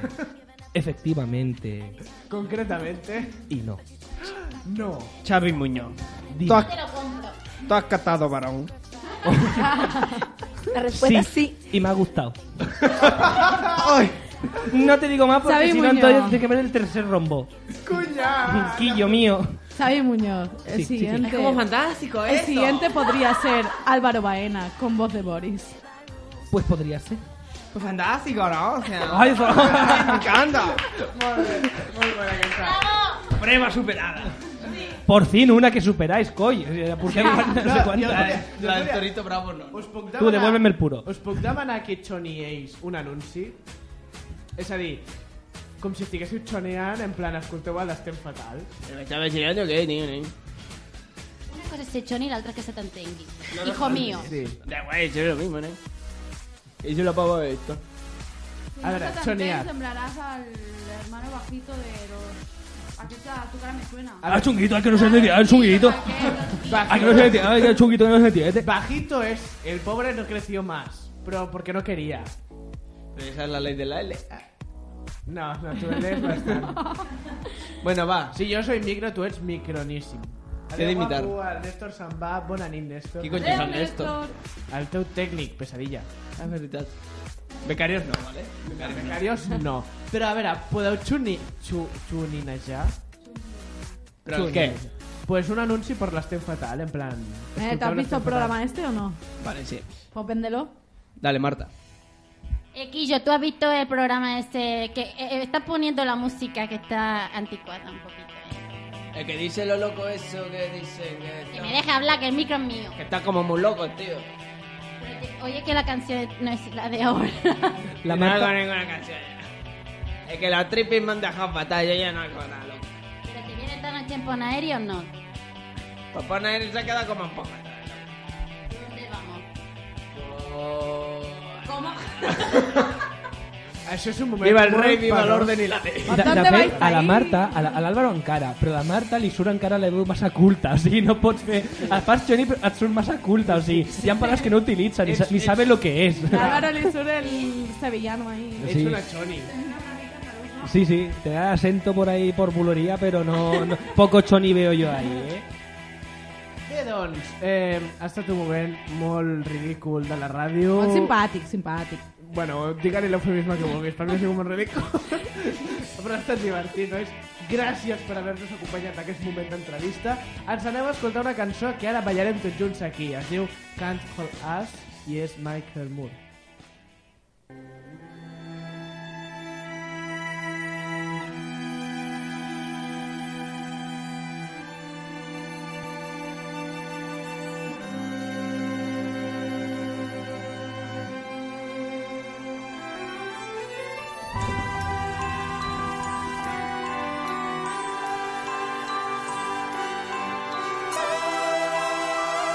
D: efectivamente
C: Concretamente,
D: y no.
C: no.
F: Xavi Muñoz.
D: Dime.
F: Tú has,
G: Te lo compro.
F: tú has catado varón.
H: La respuesta
D: Sí,
H: es sí.
D: y me
F: *laughs*
D: ha gustado. No te digo más porque
E: Xavi
D: si no
E: Muñoz.
D: entonces tienes que ver el tercer rombo.
C: ¡Cuña!
D: Quillo mío.
E: Xavi Muñoz, el
D: Sí, sí, sí.
E: siguiente...
H: Es como fantástico,
E: El
H: eso.
E: siguiente podría ser Álvaro Baena, con voz de Boris. Eh,
D: Pues podría ser.
F: Pues fantástico, ¿no? O sea,
D: Ay, eso-
F: *laughs* me encanta.
D: Prueba superada. Por fin, una que superáis, coy. Eh, Porque
C: *laughs*
D: no sé
C: La,
D: cuántas.
F: La del Torito Bravo no.
C: Us puc
D: Tu, devuélveme el puro.
C: Us puc demanar que xonieis un anunci? És a dir, com si estiguéssiu xoneant en plan, escolteu el d'Estem Fatal.
F: Me estaba girando que, niño, niño.
G: Una cosa és ser xoni i l'altra que se t'entengui. Hijo mío.
C: Sí.
F: Da igual, yo lo mismo, ¿no? Y yo lo pago de esto.
C: A veure, xonear.
K: Semblaràs el hermano bajito de los...
M: *laughs*
K: Aquest de tu cara me suena.
D: Ah, chunguito, al que no se entiende, al chunguito. Al Ah, que no se entiende, al chunguito que no se entiende.
C: Bajito es, el pobre no creció más, pero porque no quería.
F: Pero esa es la ley de la L.
C: No, no, tú eres bastante.
F: Bueno, va.
C: Si yo soy micro, tú eres micronísimo.
F: T'he d'imitar.
C: guapo, El Néstor se'n va, bona nit, Néstor.
F: Qui cony és el Néstor?
C: El teu tècnic, pesadilla.
F: Ah, Es verdad. Becarios no, ¿vale?
C: Becarios no. Però a veure, podeu xuni, xu, xuninejar?
F: Però què?
C: Pues un anunci per l'estem fatal, en plan...
E: Eh, ¿Te
C: escolteu
E: has visto el
C: l'Estem Fatal.
E: programa este o no?
F: *laughs* Vale, sí.
E: Pues véndelo.
F: Dale, Marta.
G: Eh, Quillo, tú has visto el programa este que eh, eh, está poniendo la música que está anticuada un poquito. eh.
F: El que dice lo loco eso, que dice
G: Que me deja hablar, que el micro es mío.
F: Que está como muy loco, tío.
G: Pero te- Oye, que la canción no es la de ahora. *laughs*
D: La
F: no hago
D: Marta,
F: ninguna canción. Es que la trippy me han dejado fatal, yo ya no hago nada, loco.
G: Pero te viene esta noche en Ponaeri o no.
F: Papá Nair se ha quedado como un poco
G: ¿Dónde vamos?
F: atrás.
G: ¿Cómo?
C: Això és un moment...
F: Viva el rei,
C: molt
F: viva
C: penós.
F: l'orden i la ley.
D: de,
E: este? Bastante
D: de fet,
E: vais
D: a la
E: ahí.
D: Marta, a la- a l'Àlvaro encara, però a la Marta li surt encara la veu massa culta, o sigui, no pots fer... Et fas Johnny, però et surt massa culta, o sigui, hi ha paraules que no utilitzen, ni, sa- ni sabe lo que és.
E: Álvaro Lizur, el sevillano ahí.
C: Ets
D: Sí.
C: una xoni.
D: Sí, sí, te da acento por ahí por bulería, pero no, no- poco Johnny veo yo ahí, eh.
C: Bé, doncs, eh, ha estat un moment molt ridícul de la ràdio.
E: Molt simpàtic, simpàtic.
C: Bueno, digue-li l'eufemisme que vulguis, per mi ha sigut molt ridícul. Però ha estat divertit, nois. Gràcies per haver-nos acompanyat en aquest moment d'entrevista. Ens anem a escoltar una cançó que ara ballarem tots junts aquí. Es diu Can't Hold Us i és Michael Moore.
B: Thank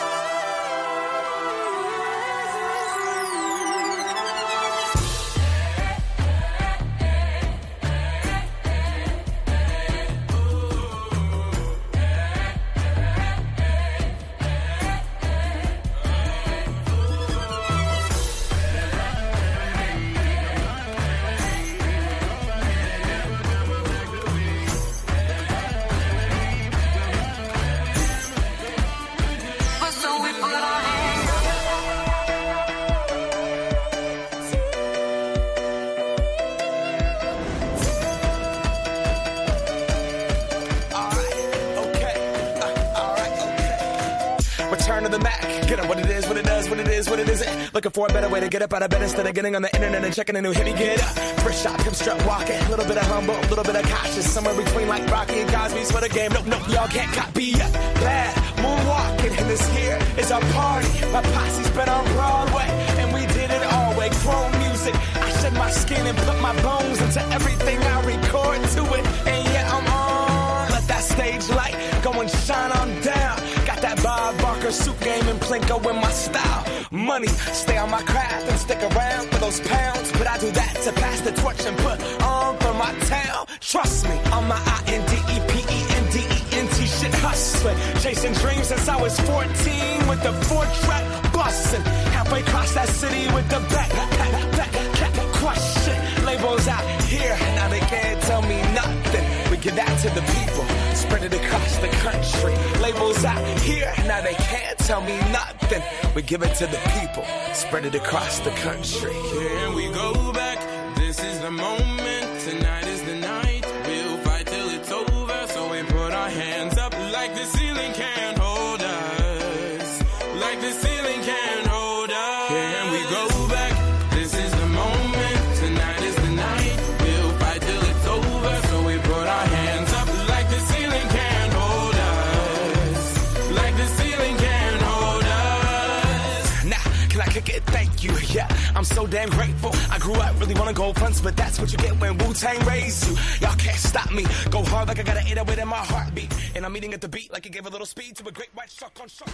N: of the Mac. Get up what it is, what it does, what it is, what it isn't. Looking for a better way to get up out of bed instead of getting on the internet and checking a new hit. Me get up. First shot, come strut walking. Little bit of humble, little bit of cautious. Somewhere between like Rocky and Cosby's for the game. Nope, nope, y'all can't copy up. Bad moonwalking. And this here is our party. My posse's been on Broadway. And we did it all way. Chrome music. I shed my skin and put my bones into everything I record to it. And yeah, I'm on. Let that stage light go and shine on down. Got that Bob Barker suit game and Plinko in my style. Money, stay on my craft and stick around for those pounds. But I do that to pass the torch and put on for my town. Trust me, on my I N D E P E N D E N T shit hustling. Chasing dreams since I was 14 with the four track busting. Halfway across that city with the back, back, back, back, question. Labels out here, now they can't tell me nothing. We give that to the people, spread it across the country. Labels out here, now they can't tell me nothing. We give it to the people, spread it across the country.
O: Here we go back. This is the moment. Tonight is the night. We'll fight till it's over. So we put our hands up like the ceiling can't hold us. Like the ceiling can't hold us. Here we go back. This is the moment. Tonight is the night. We'll fight till it's over. So we put our hands up like the ceiling can't hold us. Like the ceiling can't hold us.
N: Now, can I kick it? Thank you. Yeah, I'm so damn grateful. I grew up really wanna go fronts, but that's what you get when Wu Tang raised you. Y'all can't stop me. Go hard like I gotta eat it in my heartbeat. And I'm eating at the beat like it gave a little speed to a great white shark on shark.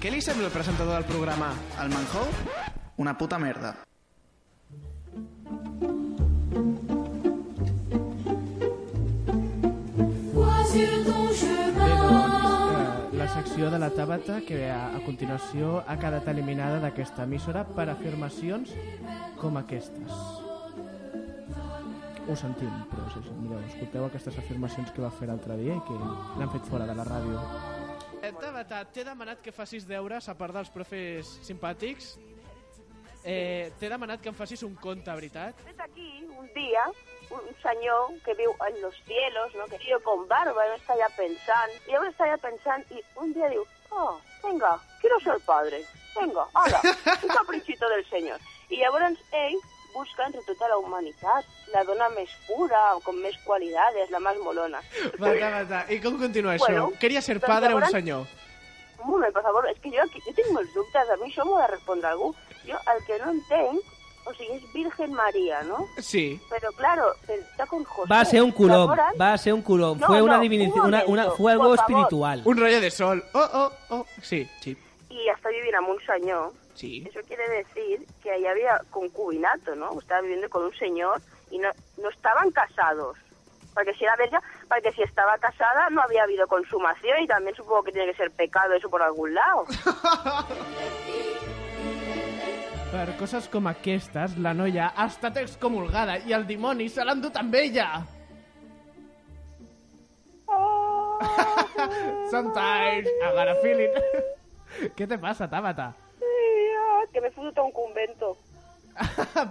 P: Què li sembla el presentador del programa? El Manhou? Una puta merda.
B: Vois-tu ton
C: Bé,
B: chemin
C: doncs, eh, la secció de la Tabata, que a, a continuació ha quedat eliminada d'aquesta emissora per afirmacions com aquestes. Ho sentim, però sí, sí, mireu, escolteu aquestes afirmacions que va fer l'altre dia i que l'han fet fora de la ràdio. Tabata, Eh, t'he demanat que facis deures, a part dels profes simpàtics. Eh, t'he demanat que em facis un conte, veritat?
Q: Ves aquí un día un senyor que viu en los cielos, no? que tio con barba, i està allà pensant, i llavors està allà pensant, i un dia diu, oh, venga, quiero ser padre, venga, hola, un caprichito del senyor. I llavors ell busca entre tota la humanitat la dona més pura, com més qualitats, la més molona.
C: Va, Tabata, i com continua això?
Q: Bueno,
C: Queria ser
Q: doncs
C: padre a un
Q: llavors-
C: senyor.
Q: Un moment, per favor, és que jo, aquí- jo tinc molts dubtes, a mi això m'ho ha de respondre algú. Jo el que no entenc, o sigui, és Virgen Maria, no?
C: Sí.
Q: Pero claro, pero está con José.
D: Va ser un
Q: culón,
D: culón, va ser un culón.
Q: Ah, No,
D: fue una
Q: no,
D: divinici-
Q: un
D: una, una,
Q: momento,
D: fue algo
Q: por favor.
D: espiritual.
C: Un rayo de sol. Oh, oh, oh. Sí, sí.
Q: Y hasta vivir a un señor.
C: Sí.
Q: Eso quiere decir que ahí había concubinato, ¿no? Estaba viviendo con un señor y no, no estaban casados. Porque si era verga, porque si estaba casada no había habido consumación y también supongo que tiene que ser pecado eso por algún lado.
C: Per coses com aquestes, la noia ha estat excomulgada i el dimoni se l'ha endut amb ella.
Q: Oh!
C: *laughs* Sometimes I got a feeling. *laughs* què te passa, Tabata? *laughs*
Q: Tía, que me fui a un convento.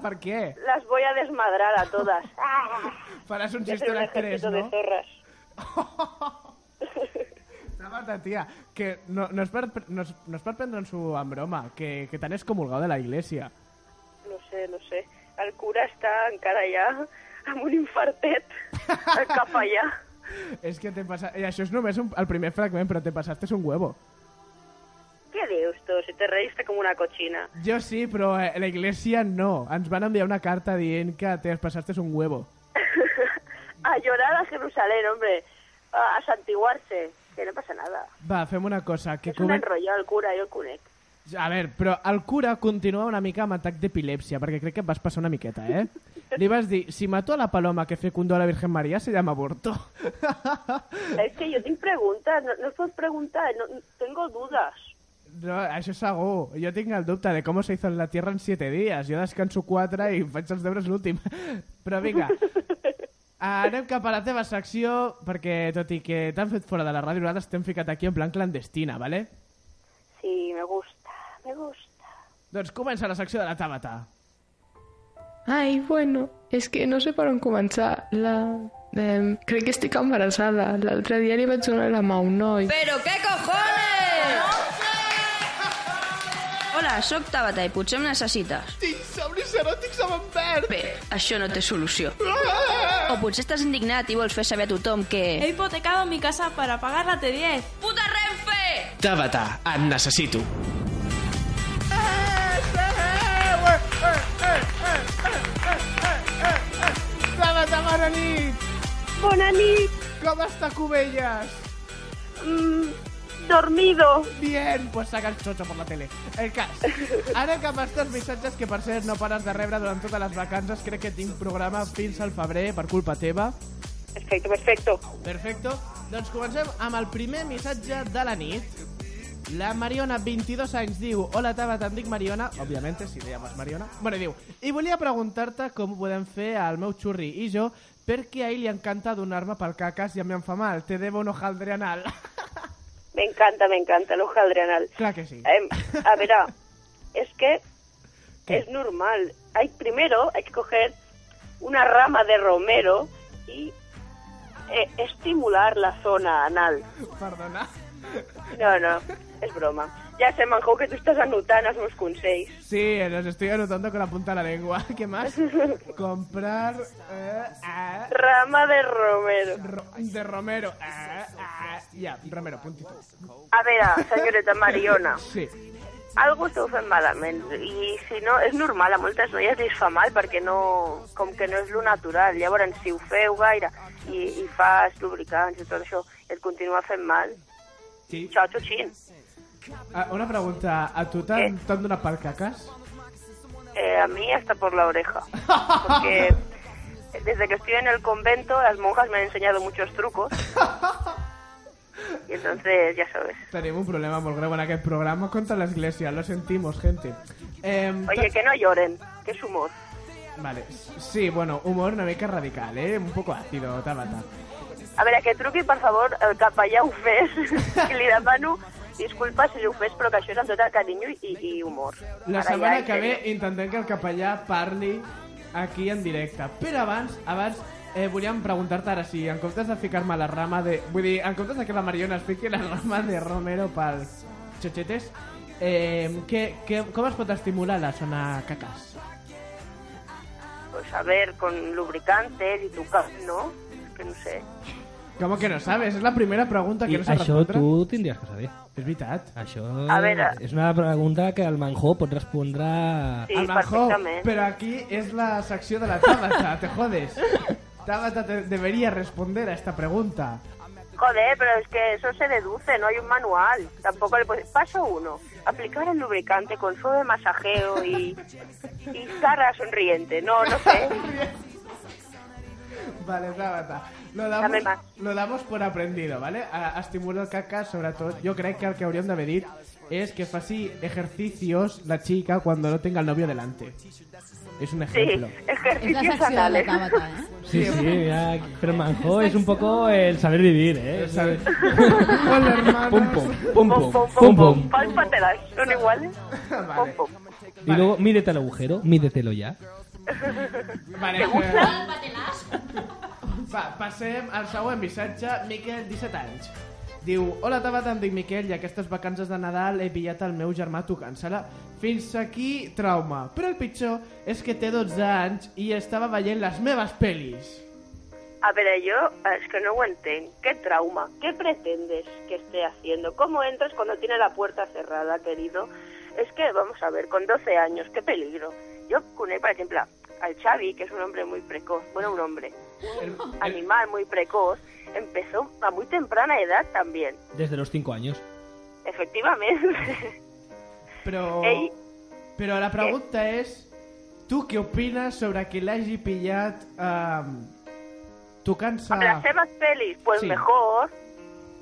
C: ¿Por qué?
Q: Las voy a desmadrar a
C: *laughs*
Q: todas.
C: Faràs un
Q: Voy a hacer
C: xiste a
Q: un
C: les 3,
Q: ejército de
C: no?
Q: zorras.
C: Tabata, tia, que no, no, és per, no, és, no és per prendre'ns-ho en broma, que, que t'han excomulgat de la iglesia.
Q: No sé, no sé. El cura està encara allà amb un infartet al cap allà.
C: És que t'he passat... I això és només un, el primer fragment, però te passaste un huevo.
Q: Què dius tu? Si te reiste com una cochina. *laughs*
C: Jo sí, però eh, la iglesia no. Ens van enviar una carta dient que te passaste un huevo.
Q: A llorar a Jerusalén, hombre. A, a santiguarse. Que no passa nada.
C: Va, fem una cosa. Que
Q: És un enrotllar el cura, jo el conec.
C: A veure, però el cura continua una mica amb atac d'epilèpsia, perquè crec que et vas passar una miqueta,
Q: *laughs*
C: eh? Li vas dir, si mató a la paloma que fecundó a la Virgen Maria, se llama aborto.
Q: És que jo tinc preguntes, no, no us pots preguntar, no, no- tengo dudas.
C: No, això és segur. Jo tinc el dubte de com se hizo en la Tierra en 7 dies. Jo descanso 4 i faig els deures l'últim. *laughs* Però vinga, anem cap a la teva secció, perquè tot i que t'han fet fora de la ràdio, nosaltres t'hem ficat aquí en plan clandestina, vale?
Q: Sí, me gusta, me gusta.
C: Doncs comença la secció de la Tabata.
L: Ai, bueno, és que no sé per on començar. La... Eh, crec que estic embarassada. L'altre dia li vaig donar la mà a un noi.
B: qué cojones!
R: Hola, sóc Tabata i potser em necessites.
I: Tinc somnis eròtics amb en Bert.
R: Bé, això no té solució.
I: Ah!
R: O potser estàs indignat i vols fer saber a tothom
S: He
R: que...
S: hipotecado mi casa para pagar la T10.
R: ¡Puta Renfe!
P: Tabata, et necessito.
I: Tabata, bona nit!
Q: Bona nit!
I: Com està Cubelles?
Q: Mm, dormido.
C: Bien, pues saca el chocho por la tele. El cas. Ara que amb els missatges que per cert no pares de rebre durant totes les vacances, crec que tinc programa fins al febrer per culpa teva.
Q: Perfecto, perfecto.
C: Perfecto. Doncs comencem amb el primer missatge de la nit. La Mariona, 22 anys, diu Hola Tabata, em dic Mariona Òbviament, si te llames Mariona Bueno, diu I volia preguntar-te com podem fer al meu xurri i jo perquè a ell li encanta donar-me pel cacas i a mi em fa mal Te debo un hojaldre anal *laughs*
Q: Me encanta, me encanta el hojaldre anal.
C: Clar que sí
Q: Em, a ver,
C: *laughs*
Q: ah, es que
C: ¿Qué?
Q: es normal. Hay primero hay que coger una rama de romero y eh, estimular la zona anal.
C: Perdona
Q: No, no, es broma. Ja sé, Manjou, que tu estàs anotant els meus consells.
C: Sí, los estoy anotando con la punta de la lengua *laughs* ¿Qué más? Comprar eh, ah,
Q: Rama de romero.
C: ro- de Romero Ah, ah, Ya, Romero, puntito
Q: A veure, senyoreta Mariona.
C: Sí
Q: Algo esteu fent malament i si no, és normal, a moltes noies li fa mal perquè no, com que no és lo natural llavors si ho feu gaire i, i fas lubricants i tot això i et continua fent mal
C: sí.
Q: xau xutxin
C: Ah, Una pregunta A tu t'han t'han donat pel cacas?
Q: eh, a mi hasta por la oreja porque desde que estoy en el convento las monjas me han enseñado muchos
C: *laughs*
Q: trucos y entonces Eh, ya sabes
C: Tenim un problema molt greu en aquest programa contra l'església, lo sentimos, gente. Em,
Q: oye que no lloren que es humor
C: Vale, sí, bueno, humor una mica radical, eh? Un poco ácido, Tabata.
Q: A veure, que truqui, per favor, eh, el capellà ho
C: *laughs*
Q: fes, que li demano disculpes si ho fes, però que això és amb tot el carinyo i, i humor.
C: La
Q: Ara
C: setmana
Q: ja,
C: que ve intentem que el capellà parli aquí en directe. Però abans, abans, eh, volíem preguntar-te ara si en comptes de ficar-me la rama de... Vull dir, en comptes de que la Mariona es fiqui la rama de Romero pels xochetes, eh, què, què, com es pot estimular la zona cacas?
Q: Pues a ver, con lubricantes i tocar, no? És que no sé.
C: Com que no sabes? És la primera pregunta que
D: I
C: no saps
D: això
C: respondre.
D: tu tindries que saber.
C: És veritat.
D: Això
Q: A veure.
D: és una pregunta que el Manjó pot respondre...
Q: Sí,
C: Al Manjó,
Q: perfectament.
C: pero aquí es la sección de la Tabata, te jodes. Tabata te- debería responder a esta pregunta.
Q: Joder, pero es que eso se deduce, no hay un manual. Tampoco le puedes... Paso uno, aplicar el lubricante con suave masajeo y, y cara sonriente. No, no sé.
C: *laughs* Vale, Tabata. Lo
Q: Dame
C: damos,
Q: más.
C: lo damos por aprendido, ¿vale? A, a estimular el caca, sobre todo. Yo creo que el que habrían de medir es que así ejercicios la chica cuando no tenga el novio delante. Es un ejemplo.
Q: ejercicios
E: secció de la
Q: anales.
E: Tabata, eh?
D: Sí, sí, mira, pero Manjó es un poco el saber vivir, ¿eh?
C: *laughs*
D: Pum, pum, pum, pum, pum, pum.
Q: Pálpatelas, son iguales. Pom, pom.
D: Y luego, mídete el agujero, mídetelo ya.
C: Vale,
Q: ¿Te gusta?
C: Va, passem al següent missatge. Miquel, 17 anys. Diu, hola Tabata, em dic Miquel i aquestes vacances de Nadal he pillat el meu germà tocant-se-la. Fins aquí, trauma. Però el pitjor és que té 12 anys i estava veient les meves pel·lis.
Q: A ver, yo es que no lo entiendo. ¿Qué trauma? ¿Qué pretendes que esté haciendo? ¿Cómo entras cuando tiene la puerta cerrada, querido? Es que, vamos a ver, con 12 años, qué peligro. Yo cuné, por ejemplo, al Xavi, que es un hombre muy precoz, bueno, un hombre, un animal muy precoz, empezó a muy temprana edad también,
D: Desde los 5 años.
Q: efectivamente.
C: Però...
Q: Ei.
C: Però la pregunta és... Tu què opines sobre que l'hagi pillat eh, tocant-se...
Q: Las demás pelis, pues
C: Ah. Sí.
Q: mejor.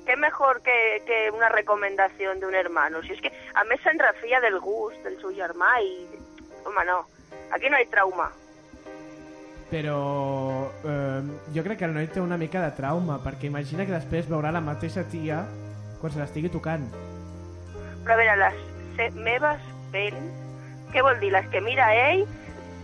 Q: Qué mejor que, que una recomendación de un hermano. Si es que a mí se enrafía del gusto, del suyo hermano y... Toma, no. Aquí no hay trauma.
C: Però eh, jo crec que el noi té una mica de trauma, perquè imagina que després veurà la mateixa tia quan se l'estigui tocant.
Q: Però a veure, les se meves pelis, què vol dir? Les que mira ell,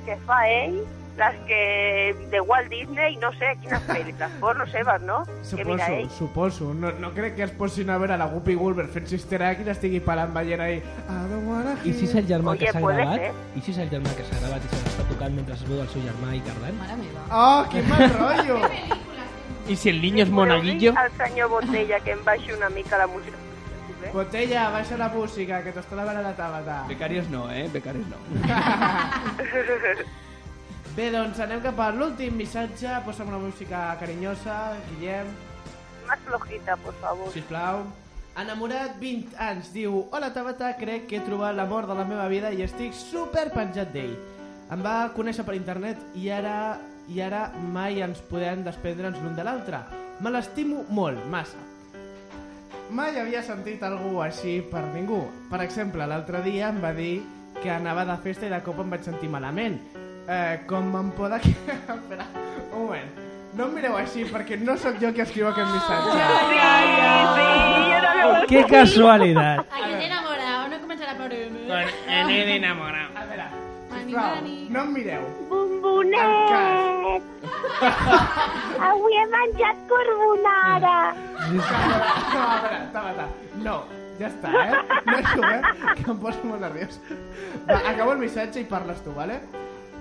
Q: que fa ell las que de Walt Disney, no sé, quines pel·lícules, porno seves, no? Que mira
C: Suposo,
Q: ell.
C: suposo. No, no crec que es posin a veure la Guppy Wolver fent cistera que l'estigui parant veient ahí. I don't wanna
D: I si és el germà que s'ha
C: puede
D: gravat?
C: ser.
D: I si és el germà que s'ha gravat i se l'està tocant mentre es veu el seu germà i tardant?
E: Mare meva.
C: Oh, quin mal rotllo!
D: I si el niño és
Q: Monaguillo. Al senyor Botella que em baixi una mica la música.
C: Botella, baixa la música, que t'està demanant la Tabata.
F: Becarios no, eh? Becarios no.
C: *laughs* Bé, doncs anem cap a l'últim missatge. Posa'm una música carinyosa, Guillem.
Q: Más flojita, por favor.
C: Sisplau. Enamorat 20 anys, diu Hola Tabata, crec que he trobat l'amor de la meva vida i estic super penjat d'ell. Em va conèixer per internet i ara i ara mai ens podem desprendre'ns l'un de l'altre. Me l'estimo molt, massa. Mai havia sentit algú així per ningú. Per exemple, l'altre dia em va dir que anava de festa i de cop em vaig sentir malament. Eh, com em poda... Espera, un moment. No em mireu així, perquè no sóc jo qui escriu aquest missatge.
G: Ai, ai, ai, era lo
D: ¡Qué
G: *laughs*
D: casualidad!
G: Aquí te enamorado, no començarà per mi.
C: enamorado. A veure, sisplau, no em mireu.
Q: Bombonet! Avui he menjat carbonara.
C: No, a veure, Tabata, no, ja està, eh? *laughs* Deixo, eh? Que em poso molt nerviós. Va, acabo el missatge i parles tu, vale?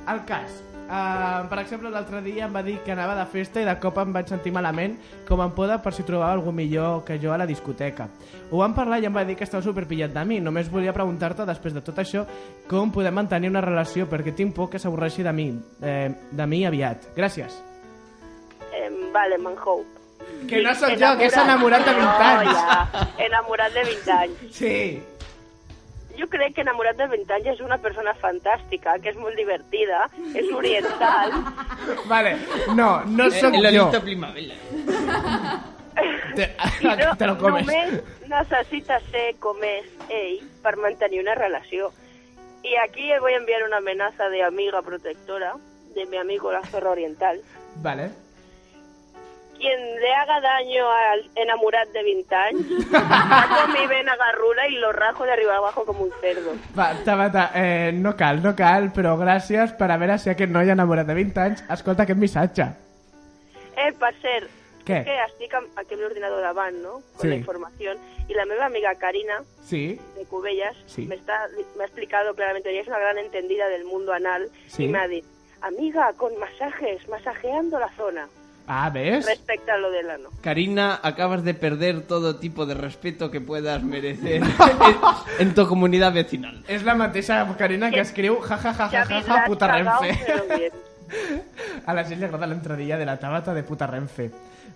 C: El cas. Uh, per exemple, l'altre dia em va dir que anava de festa i de cop em vaig sentir malament com em poda per si trobava algú millor que jo a la discoteca. Ho vam parlar i em va dir que estava superpillat de mi. Només volia preguntar-te, després de tot això, com podem mantenir una relació perquè tinc por que s'avorreixi de mi, eh, de mi aviat.
Q: *laughs*
C: Gràcies.
Q: Eh, vale, Manhou.
C: Que no sóc jo, que és enamorat de 20 anys.
Q: No, ja. Enamorat de 20 anys.
C: Sí.
Q: Jo crec que enamorat de 20 anys és una persona fantàstica, que és molt divertida, és oriental.
C: Vale, no, no
Q: Eh,
C: sóc
F: Eh, el
C: jo.
F: Lolita Primavera.
C: Te, *laughs*
Q: I no,
C: *laughs* te lo comes.
Q: Només necessita ser com és ell per mantenir una relació. Y aquí voy a enviar una amenaza de amiga protectora, de mi amigo la zorra oriental.
C: Vale.
Q: Quien le haga daño al enamorado de 20
C: *laughs*
Q: años, saco mi vena garrula y lo rajo de arriba abajo como un cerdo.
C: Va, Tabata, eh, no cal, no cal, però gràcies per haver si aquest noi enamorat de 20 anys escolta aquest missatge.
Q: Eh, per cert,
C: Què?
Q: és que estic amb aquell ordinador davant, no? Con
C: Sí.
Q: la información. Y la meva amiga Karina,
C: Sí.
Q: de Cubellas,
C: Sí.
Q: me, está, me ha explicado claramente, ella es una gran entendida del mundo anal,
C: Sí.
Q: y me ha dicho, amiga, con masajes, masajeando la zona,
C: Ah, ¿ves?
Q: respecto a lo del ano.
F: Karina, acabas de perder todo tipo de respeto que puedas merecer en tu comunidad vecinal.
C: És la mateixa Karina que escriu ja, ja, ja, ja, ja, puta Renfe. A la gent li agrada l'entradilla de la Tabata de puta Renfe.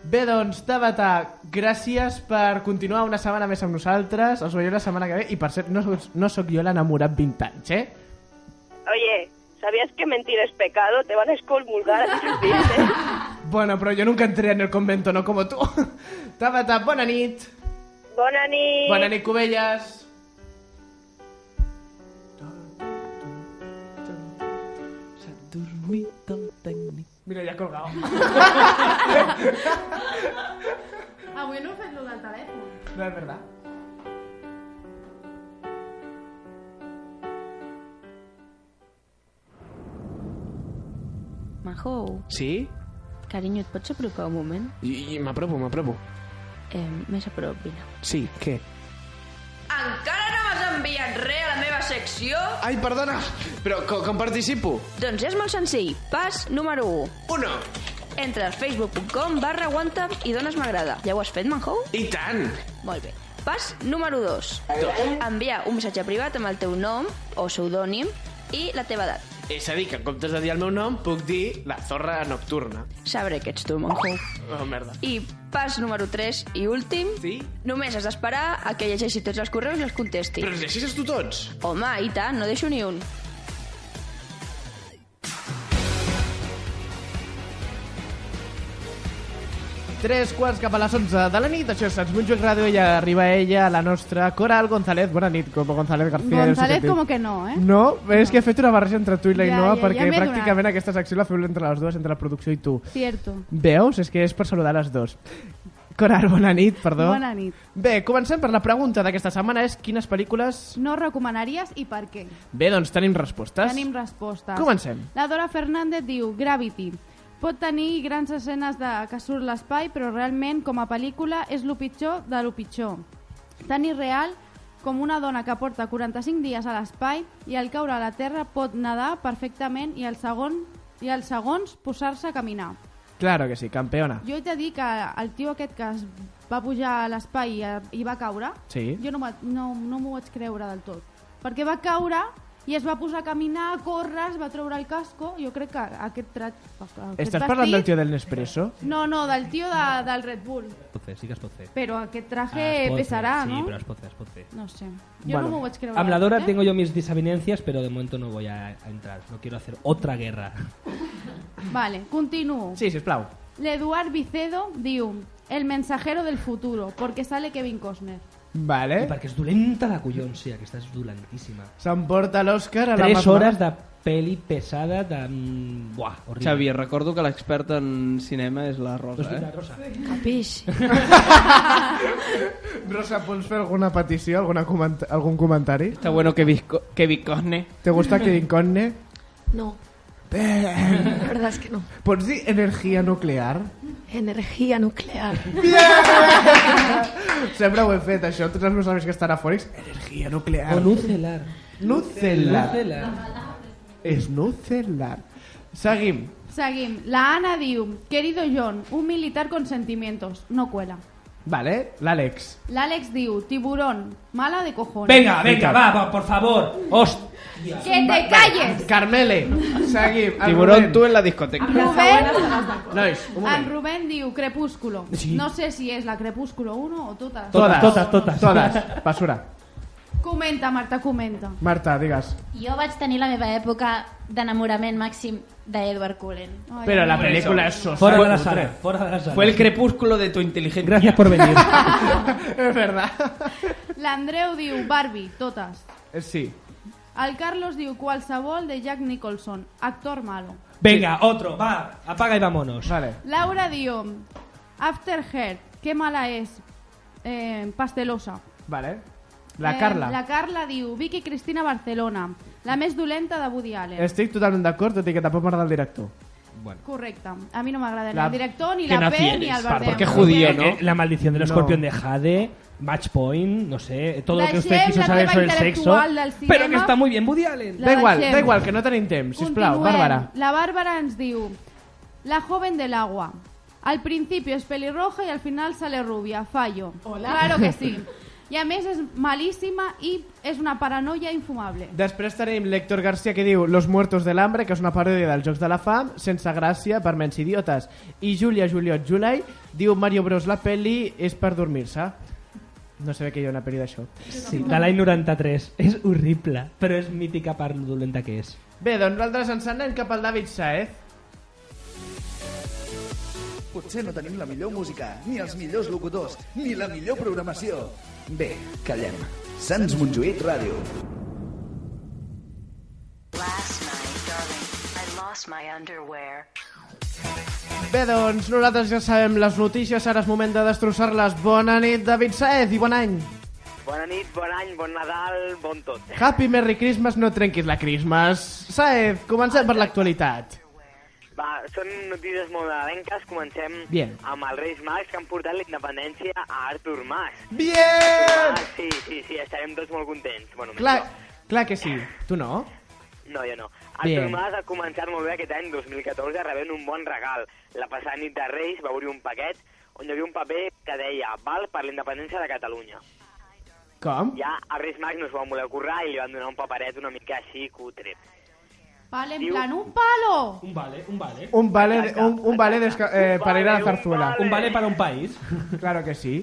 C: Bé, doncs, Tabata, gràcies per continuar una setmana més amb nosaltres. Us veiem la setmana que ve. I, per cert, no, sóc- no sóc jo l'enamorat 20 anys, eh?
Q: Oye, ¿sabías que mentir es pecado? Te van a
C: *laughs*
Q: excomulgar a tus dientes.
C: Bueno, pero yo nunca entré en el convento, no como tú. Tabata, bona nit.
Q: Bona nit.
C: Bona nit, Cubelles. Mira, ya colgado.
K: Ah,
E: Avui no he
K: pues
E: fet lo del telèfon.
C: No es verdad.
R: Majo,
P: Sí?
R: carinyo, et pots apropar un moment?
P: I, i m'apropo, m'apropo.
R: Eh, més a prop, vine.
P: Sí, què?
R: Encara no m'has enviat res a la meva secció?
P: Ai, perdona, però co com participo?
R: Doncs és molt senzill. Pas número 1.
P: 1.
R: Entres facebook.com barra OneTap i dones m'agrada. Ja ho has fet, Manhou?
P: I tant!
R: Molt bé. Pas número 2. Enviar un missatge privat amb el teu nom o pseudònim i la teva edat.
P: És a dir, que en comptes de dir el meu nom, puc dir la zorra nocturna.
R: Sabré que ets tu, Manhou.
P: Oh, merda.
R: I pas número 3 i últim.
P: Sí?
R: Només has d'esperar a que llegeixi tots els correus i els contesti.
P: Però els llegeixes tu tots?
R: Home, i tant, no deixo ni un.
C: Tres quarts cap a les 11 de la nit, això és Sants Montjuïc Ràdio i arriba ella, la nostra Coral González. Bona nit, com González García.
K: González como que no, ¿eh?
C: No, és que he fet una barreja entre tu i la
K: Ja,
C: Innova
K: ja, ja
C: perquè
K: m'he
C: pràcticament aquesta secció la feu entre les dues, entre la producció i tu.
K: Cierto.
C: Veus? És que és per saludar les dos.
M: Coral, bona nit, perdó.
K: Bona nit.
M: Bé, comencem per la pregunta d'aquesta setmana, és quines pel·lícules...
K: No recomanaries i per què?
M: Bé, doncs tenim respostes.
K: Tenim respostes.
M: Comencem.
K: La Dora Fernández diu Gravity. Pot tenir grans escenes de que surt l'espai, però realment, com a pel·lícula, és lo pitjor de lo pitjor. Tan irreal com una dona que porta 45 dies a l'espai i al caure a la Terra pot nedar perfectament i al segon i als segons posar-se a caminar.
M: Claro que sí, campeona.
K: Jo he de dir que el tio aquest que es va pujar a l'espai i, i va caure,
M: Sí.
K: jo no, m'ho- no, no m'ho vaig creure del tot. Perquè va caure i es va posar a caminar, a córrer, es va treure el casco. Jo crec que aquest trat... Aquest
M: Estàs
K: vestit-
M: parlant del tio del Nespresso?
K: No, no, del tio de, del Red Bull.
D: Pot fer, sí que es pot fer.
K: Però aquest traje
D: Ah, es pot
K: pesarà,
D: fer,
K: no?
D: Sí, però es pot fer, es pot fer.
K: No sé. Jo no m'ho vaig creure.
D: Amb la Dora
K: eh?
D: tengo yo mis desavenencias, pero de momento no voy a a entrar. No quiero hacer otra guerra.
K: eh? Vale, continúo.
M: Sí, sisplau.
K: L'Eduard Vicedo diu El mensajero del futuro, porque sale Kevin Costner.
M: Vale.
D: I perquè és dolenta la collons, sí, aquesta és dolentíssima.
M: S'emporta l'Òscar a la
D: Tres
M: Magma.
D: hores de peli pesada de... mm, Buah, horrible. *laughs*
F: Xavi, et recordo que l'experta en cinema és la Rosa,
D: Doncs
F: eh?
D: la Rosa.
R: *laughs* Capix.
C: Rosa, pots fer alguna petició, alguna comenta algun comentari?
F: Está bueno que bizco- que bicone.
C: ¿Te gusta que inconne?
H: No,
C: Bé.
H: la verdad es que no.
C: Pots dir energia nuclear?
H: Energía
C: *laughs*
H: nuclear.
C: Sempre ho he fet, això. Tots els meus amics que estan afòrics, energia nuclear.
D: O nucelar.
C: Nucelar.
D: Nucelar.
C: És nucelar.
M: Seguim.
K: Seguim. La Ana diu Querido John, un militar con sentimientos. No cuela.
M: Vale, l'Àlex.
K: L'Àlex diu Tiburón, mala de cojones.
D: Venga, venga, va, va, por favor. Hostia.
K: Que te calles.
M: Carmele. Seguim.
F: El Tiburón, tu en la discoteca.
K: Rubén,
M: Nois, un
K: en
M: moment.
K: Rubén diu Crepúsculo.
M: Sí.
K: No sé si és la Crepúsculo 1 o totes.
C: Todas,
D: totes, totes.
C: Todas. Basura.
K: Comenta, Marta, comenta.
C: Marta, digues.
G: Jo vaig tenir la meva època d'enamorament màxim d'Edward Cullen.
M: Pero la película es sosa.
D: Fuera de la
M: cutre.
D: sala, fuera de la sala.
F: Fue el crepúsculo de tu inteligencia.
D: Gracias por venir.
C: es verdad.
K: L'Andreu diu Barbie, totes.
C: Eh, Sí.
K: El Carlos diu qualsevol de Jack Nicholson, actor malo.
D: Venga, otro, va, apaga y vámonos.
C: Vale.
K: Laura diu After Heart, que mala és, eh, pastelosa.
C: Vale. La
K: Eh,
C: Carla.
K: La Carla diu Vicky Cristina Barcelona, la més dolenta de Woody Allen.
C: Estic totalment d'acord, tot i que tampoc m'agrada el director.
K: Correcte. A mi no m'agrada ni
C: La-
K: el director, ni
C: que
K: la
C: nazi
K: P, ni
C: eres,
K: el Bardem.
D: Porque
F: judío, ¿no?
D: La maldición del
F: No.
D: escorpión de Jade, Match Point, no sé, todo
K: La
D: lo que usted
K: Gem,
D: quiso
K: la
D: saber
K: nueva
D: sobre el sexo.
K: intelectual del cinema.
D: Pero que está muy bien, Woody Allen.
K: La
C: Da igual,
K: baixem.
C: da igual, que no tenim temps, sisplau,
K: Continuem.
C: Bàrbara.
K: La Bàrbara ens diu La joven del agua. Al principio es pelirroja y al final sale rubia. Fallo. Claro
C: *laughs*
K: que sí. Y a més és malíssima i és una paranoia infumable.
C: Després tenim l'Hector Garcia que diu Los muertos de l'hambre, que és una paròdia dels Jocs de la Fam, sense gràcia, per mens idiotes. I Júlia Juliot Julai diu Mario Bros, la peli és per dormir-se. No sé bé que hi ha una peli d'això.
D: Sí, de l'any 93. És horrible, però és mítica per lo dolenta que és.
C: Bé, doncs nosaltres ens en anem cap al David Saez.
T: Potser no tenim la millor música, ni els millors locutors, ni la millor programació. Bé, callem. Sants Montjuïc Ràdio.
I: lost my underwear.
C: Bé, doncs nosaltres ja sabem les notícies, ara és moment de destrossar-les. Bona nit, David Saez, i bon any.
U: Bona nit, bon any, bon Nadal, bon tot.
C: Happy Merry Christmas, no trenquis la Christmas. Saez, comencem per l'actualitat.
U: Va, són notícies molt nadalenques. Comencem
C: Bien.
U: amb els Reis Mags que han portat la independència a Artur Mas.
C: Bien!
U: Ah, sí, sí, sí, estarem tots molt contents. Bueno,
C: Clar, clar que sí. Tu no?
U: No, jo no.
C: Bien.
U: Artur Mas ha començat molt bé aquest any 2014 rebent un bon regal. La passada nit de Reis va obrir un paquet on hi havia un paper que deia Val per la independència de Catalunya.
C: Com?
U: Ja els Reis Mags no s'ho van voler currar i li van donar un paperet una mica així cutre.
K: Vale, en plan, un palo.
D: Un vale, un vale.
C: Un vale, un, un vale desca- eh, per ir a la zarzuela.
D: Un vale para un país.
C: *laughs* Claro que sí.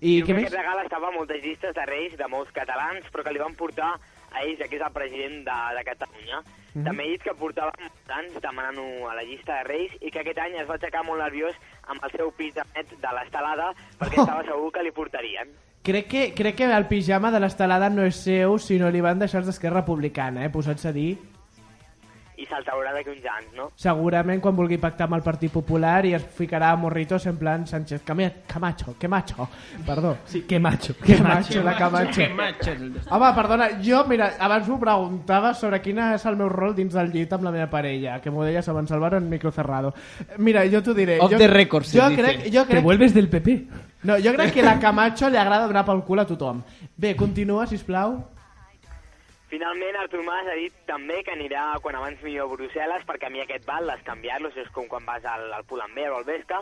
C: I què més?
U: Aquest regal estava a moltes llistes de reis de molts catalans, però que li van portar a ell, ja que és el president de, de Catalunya.
C: Mhm.
U: També he dit que portava molts anys demanant-ho a la llista de reis i que aquest any es va aixecar molt nerviós amb el seu pis de net de l'estelada perquè
C: Oh.
U: estava segur que li portarien.
C: Crec que, crec que el pijama de l'estelada no és seu, sinó li van deixar els d'Esquerra Republicana, eh? Posats a dir...
U: i se'l traurà d'aquí uns anys, no?
C: Segurament quan vulgui pactar amb el Partit Popular i es ficarà a morritos en plan Sánchez Cami- Camacho, Camacho, perdó. Sí, Camacho. Camacho, la Camacho. Home, perdona, jo, mira, abans m'ho preguntava sobre quin és el meu rol dins del llit amb la meva parella, que m'ho deies abans al bar en micro cerrado. Mira, jo t'ho diré.
V: Off
C: jo,
V: the record, se
C: jo
V: dice.
C: crec, jo
D: Te
C: crec,
D: vuelves del PP.
C: No, jo crec que la Camacho li agrada donar pel cul a tothom. Bé, continua, si plau.
U: Finalment, Artur Mas ha dit també que anirà quan abans millor a Brussel·les perquè a mi aquest bal, les canviar-los, és com quan vas al, al Pull&Bear o al Vesca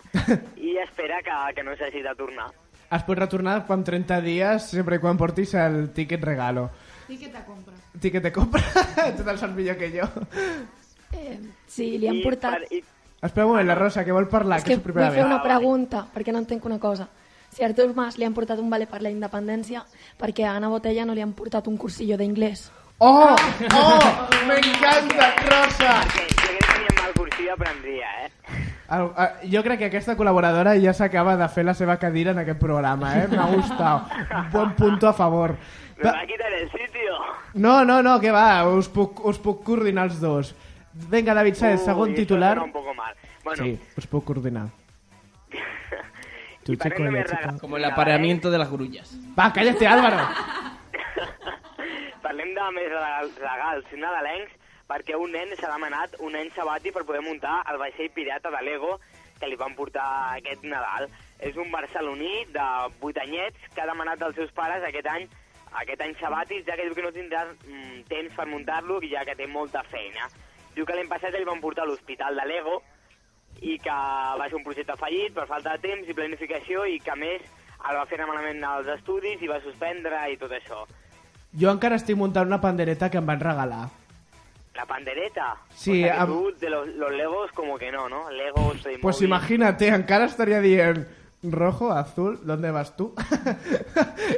U: i espera que, que no s'hagi de tornar. *laughs*
C: Es pot retornar quan 30 dies, sempre i quan portis el tiquet regalo.
W: Sí que te compra.
C: Tiquet de compra, *laughs* tu te'l saps millor que jo.
H: Eh, sí, li han portat...
U: I,
C: Espera un moment, la Rosa, que vol parlar,
H: és
C: que,
H: que
C: és
H: vull
C: primera
H: fer una
C: vegada.
H: pregunta, perquè no entenc una cosa. Si a Artur Mas li han portat un vale per la independència, perquè a Ana Botella no li han portat un cursillo Ah! d'inglès.
C: Oh! Oh! M'encanta, Rosa!
U: Jo crec que ni amb el cursí aprendria, eh?
C: El, eh, jo crec que aquesta col·laboradora ja s'acaba de fer la seva cadira en aquest programa, eh? M'ha gustat. Un bon punto a favor.
U: Me va a quitar el sitio.
C: No, no, no, que va, us puc, us puc coordinar els dos. Vinga, David Saez,
U: Uy,
C: segon
U: esto
C: titular.
U: suena un poco mal. Bueno,
C: Sí, us puc coordinar. Tu,
U: Y para
C: chico,
U: no me
C: yo, chica.
U: rega-
V: Como el apareamiento de las grullas.
C: Va, cállate, Álvaro!
U: parlem de més regals, regals nadalencs perquè un nen s'ha demanat un any sabati per poder muntar el vaixell pirata de Lego que li van portar aquest Nadal. És un barceloní de 8 anyets que ha demanat als seus pares aquest any aquest any sabàtic, ja que diu que no tindrà mm, temps per muntar-lo, ja que té molta feina. Diu que l'any passat el van portar a l'hospital de Lego, i que va ser un projecte fallit per falta de temps i planificació i que a més el va fer anar malament als estudis i va suspendre i tot això.
C: Jo encara estic muntant una pandereta que em van regalar.
U: La pandereta.
C: Sí,
U: o sea que
C: am-
U: tú de los, los Legos como que no, ¿no? Legos de
C: Pues imagínate, encara estaria dient... Rojo, azul, ¿dónde vas tú? *laughs*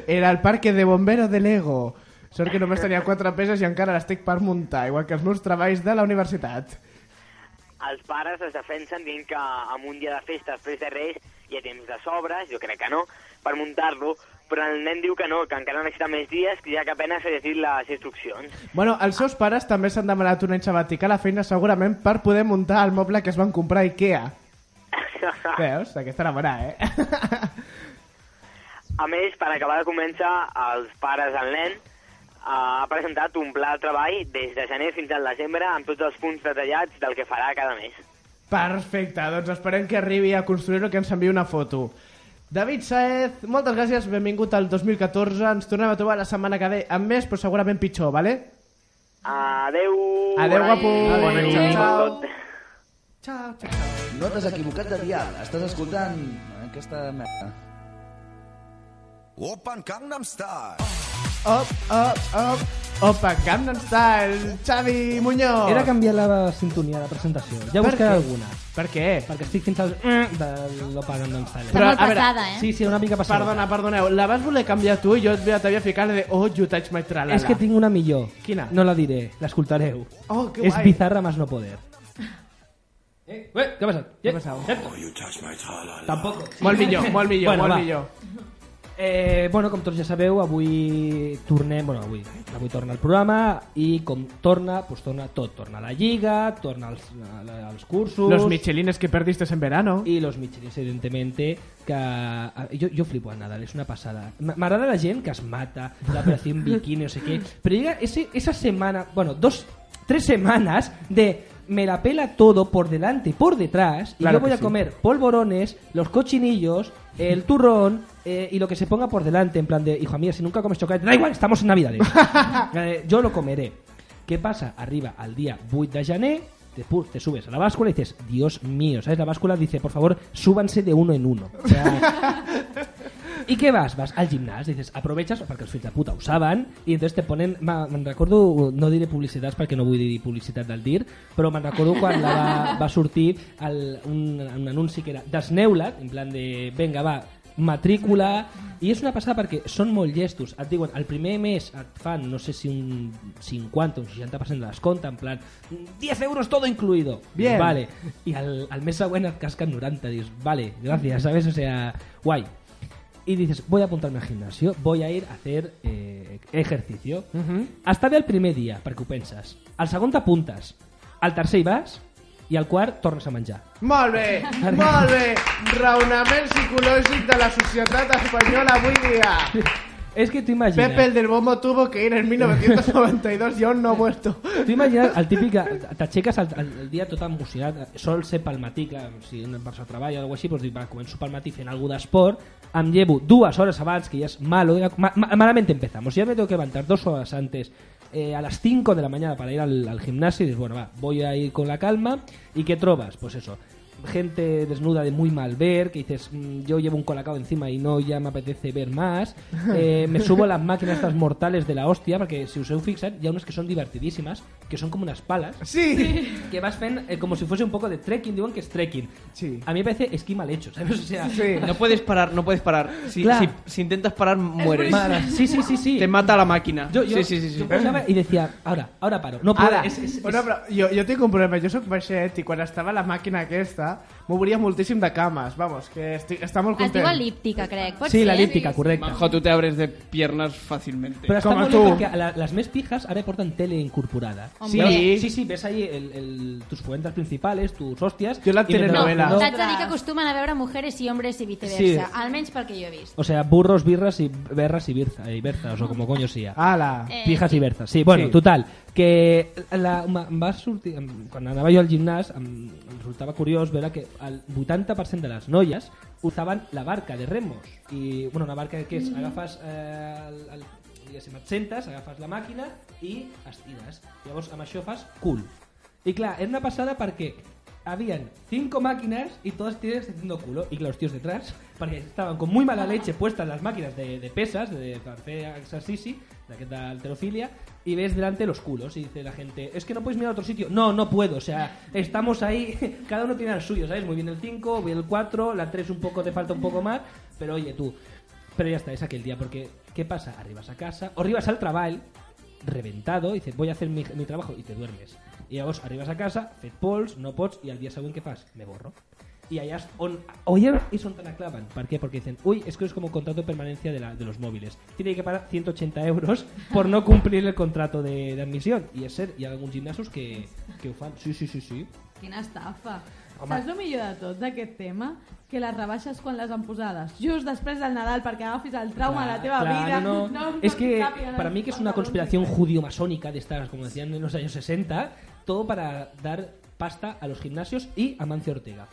C: Era el parque de bomberos de Lego. Sort que només tenia quatre peces i encara l'estic per muntar, igual que els meus treballs de la universitat.
U: Els pares es defensen dient que amb un dia de festa després de Reis hi ha temps de sobres, jo crec que no, per muntar-lo, però el nen diu que no, que encara necessita més dies, ja que apenas ha llegit les instruccions.
C: Bueno, els seus pares també s'han demanat un any sabàtic a la feina segurament per poder muntar el moble que es van comprar a Ikea. Veus? Aquesta era bona, eh?
U: *laughs*
C: *laughs*
U: A més, per acabar de començar, els pares del nen eh, ha presentat un pla de treball des de gener fins al desembre amb tots els punts detallats del que farà cada mes.
C: Perfecte, doncs esperem que arribi a construir-ho que ens enviï una foto. David Saez, moltes gràcies, benvingut al 2014, ens tornem a trobar la setmana que ve amb més, però segurament pitjor, vale?
U: Adeu!
C: Adeu,
U: bona nit.
C: guapo!
U: Bona nit.
C: Adeu.
U: Ciao.
C: Ciao, ciao.
F: No t'has equivocat de dial, estàs escoltant aquesta merda.
I: Open Gangnam Style.
C: Op, op, op, opa, Gangnam Style, Xavi Muñoz.
D: Era canviar la sintonia de presentació. Ja
C: Per
D: buscaré
C: què?
D: alguna.
C: Per què?
D: Perquè estic fins al... mm, de l'Opa Gangnam Style. Sí, sí, una mica passada.
C: Perdona, perdoneu, la vas voler canviar tu i jo et- t'havia ficat la de Oh, you touch my tralala.
D: És que tinc una millor.
C: Quina?
D: No la diré, l'escoltareu.
C: Oh, que
D: És
C: guai.
D: bizarra más no poder. Eh, ué, què ha passat?
C: Què ha passat?
I: Oh, you touch my tralala.
D: Tampoc.
C: Molt millor, molt millor,
D: Bueno,
C: molt
D: va.
C: millor.
D: Eh, bueno, com tots ja sabeu, avui tornem, bueno, avui, eh, avui torna el programa i com torna, doncs torna tot. Torna la Lliga, torna els, els cursos...
C: Los michelines que perdiste en verano.
D: Y los michelines, evidentemente, que... a- Yo, yo flipo a Nadal, es una pasada. M- M'agrada la gent que es mata, la operación bikini, no sé qué. Pero llega ese, esa semana, bueno, dos, tres semanas de me la pela todo por delante y por detrás y
C: Claro
D: yo voy
C: que
D: a
C: sí.
D: comer polvorones, los cochinillos, el turrón eh, y lo que se ponga por delante, en plan de, hijo mía, si nunca comes chocolate, da igual, estamos en Navidades. Eh, yo lo comeré. ¿Qué pasa? Arriba al día 8 de Jané, te, pu- te subes a la báscula y dices, Dios mío, ¿sabes? La báscula dice, por favor, súbanse de uno en uno. O sea, ¿Y qué vas? Vas al gimnàs, dices, aprovechas, perquè els fills de puta ho saben, i entonces te ponen... ma- Me'n recordo, no diré publicitats perquè no vull dir publicitat del DIR, però me'n recordo quan la va, va sortir el, un, un anunci que era desneu-la't, en plan de, venga, va, matrícula... I és una passada perquè són molt llestos. Et diuen, el primer mes et fan, no sé si un 50 o un 60% de descompte, en plan, 10 euros todo incluido.
C: Bien.
D: Vale. Y al, al mes següent et casquen 90. Dius, vale, gracias, ¿sabes? O sea, guay. Y dices, voy a apuntarme al gimnasio, voy a ir a hacer eh, ejercicio. Hasta ve el primer día, perquè ho penses. Al segon t'apuntes. al tercer hi vas i al quart tornes a menjar.
C: Molt bé, molt bé. Raonament psicològic de la societat espanyola avui dia.
D: És que tu imagines...
C: Pepe el del bombo tuvo que ir en 1992 i on no ha vuelto.
D: Tu imagina't el típic que t'aixeques el, el, el, dia tot emocionat, sol ser pel matí, que si no em vas a treball o alguna cosa així, doncs dic, va, començo pel matí fent alguna d'esport, em llevo dues hores abans, que ja és malo, ya- ma- ma- malamente empezamos, ya me tengo que levantar dos horas antes, eh, a las 5 de la mañana para ir al, al gimnasio, y dices, bueno, va, voy a ir con la calma, ¿y qué trovas? Pues eso, gente desnuda de muy mal ver, que dices, mm, yo llevo un colacao encima y no ya me apetece ver más, Eh, me subo a las máquinas estas mortales de la hostia, porque si us heu fixat, hi ha unes que són divertidíssimas, que són com unes pales,
C: sí.
D: *laughs* que vas fent eh, como si fuese un poco de trekking, diuen que es trekking.
C: Sí.
D: A mí me parece esquí mal hecho, ¿sabes? O sea,
F: No puedes parar, no puedes parar. Si,
D: Clar.
F: si, si intentas parar, mueres.
D: buenísimo. Sí, sí, sí, sí.
F: Te mata la máquina.
D: Yo, yo,
F: sí, sí, sí, sí.
D: yo pensaba y decía, ahora, ahora paro. No puedo.
C: Ara,
D: es- es-
C: bueno,
D: es-
C: però jo, jo tinc un problema. Jo sóc baixet i quan estava la màquina aquesta m'obria moltíssim de cames. Vamos, que estic, està molt
G: Es diu
C: content.
G: elíptica, crec. Pot
D: Sí,
G: ser?
D: la elíptica, correcta.
F: Manjo, tú te abres de piernas fácilmente.
D: Pero está muy bien porque a la- las mes pijas ahora portan tele incorporada.
F: Hombre.
D: Sí, sí, sí, ves ahí el- el- tus cuentas principales, tus hostias. Yo
C: la telenovela.
G: No, t'haig de dir que acostumen a veure mujeres i homes i viceversa,
D: Sí.
G: almenys pel que jo he vist.
D: O sea, burros, birras y berras y birza, y berzas, o como coño sea.
C: ¡Hala!
G: Eh,
D: Pijas y berzas. Sí, bueno,
C: Sí.
D: total. Que la, ma- em va sortir, em- quan anava jo al gimnàs em, em resultava curiós veure que el 80% de les noies usaven la barca de remos. I, bueno, una barca que
C: Mm.
D: és,
F: Mhm.
D: agafes eh, el, el, diguéssim, et sentes, agafes la màquina i estires. Llavors, amb això fas cool. I clar, era una pasada perquè habían cinco máquinas y todas tienen haciendo culo. Y los tíos detrás, porque estaban con muy mala leche puestas las máquinas de, de pesas, de parfea, exercicio, la que da alterofilia, y ves delante los culos. Y dice la gente, es que no puedes mirar a otro sitio. No, no puedo. O sea, estamos ahí, *laughs* cada uno tiene el suyo, ¿sabes? Muy bien el 5, bien el 4, la 3 un poco, te falta un poco más. Pero oye, tú, pero ya está, es aquel día, porque ¿qué pasa? Arribas a casa, o arribas al trabajo, reventado, y dices, voy a hacer mi, mi trabajo, y te duermes. Y llavors arribas a casa, fet pols, no pots, i al dia següent què fas? Me borro. I allà és on... Oye, és on te la clavan. Per què? Perquè dicen, uy, es que es como contrato de permanencia de, la, de los móviles. Tiene que pagar 180 euros por no cumplir el contrato de, de admisión. I és cert, hi ha alguns gimnasos que, que ho fan. Sí, sí, sí, sí.
E: Quina estafa.
D: Home.
E: Saps el millor de tot d'aquest tema? Que les rebaixes quan les han posades. Just després del Nadal, perquè agafis el trauma a la teva
D: Claro,
E: vida.
K: *laughs*
D: no.
E: em
D: es que
E: capis,
D: para mí que es una conspiración judío-masónica de estas, como decían en los años 60, todo para dar pasta a los gimnasios y a Mancio Ortega.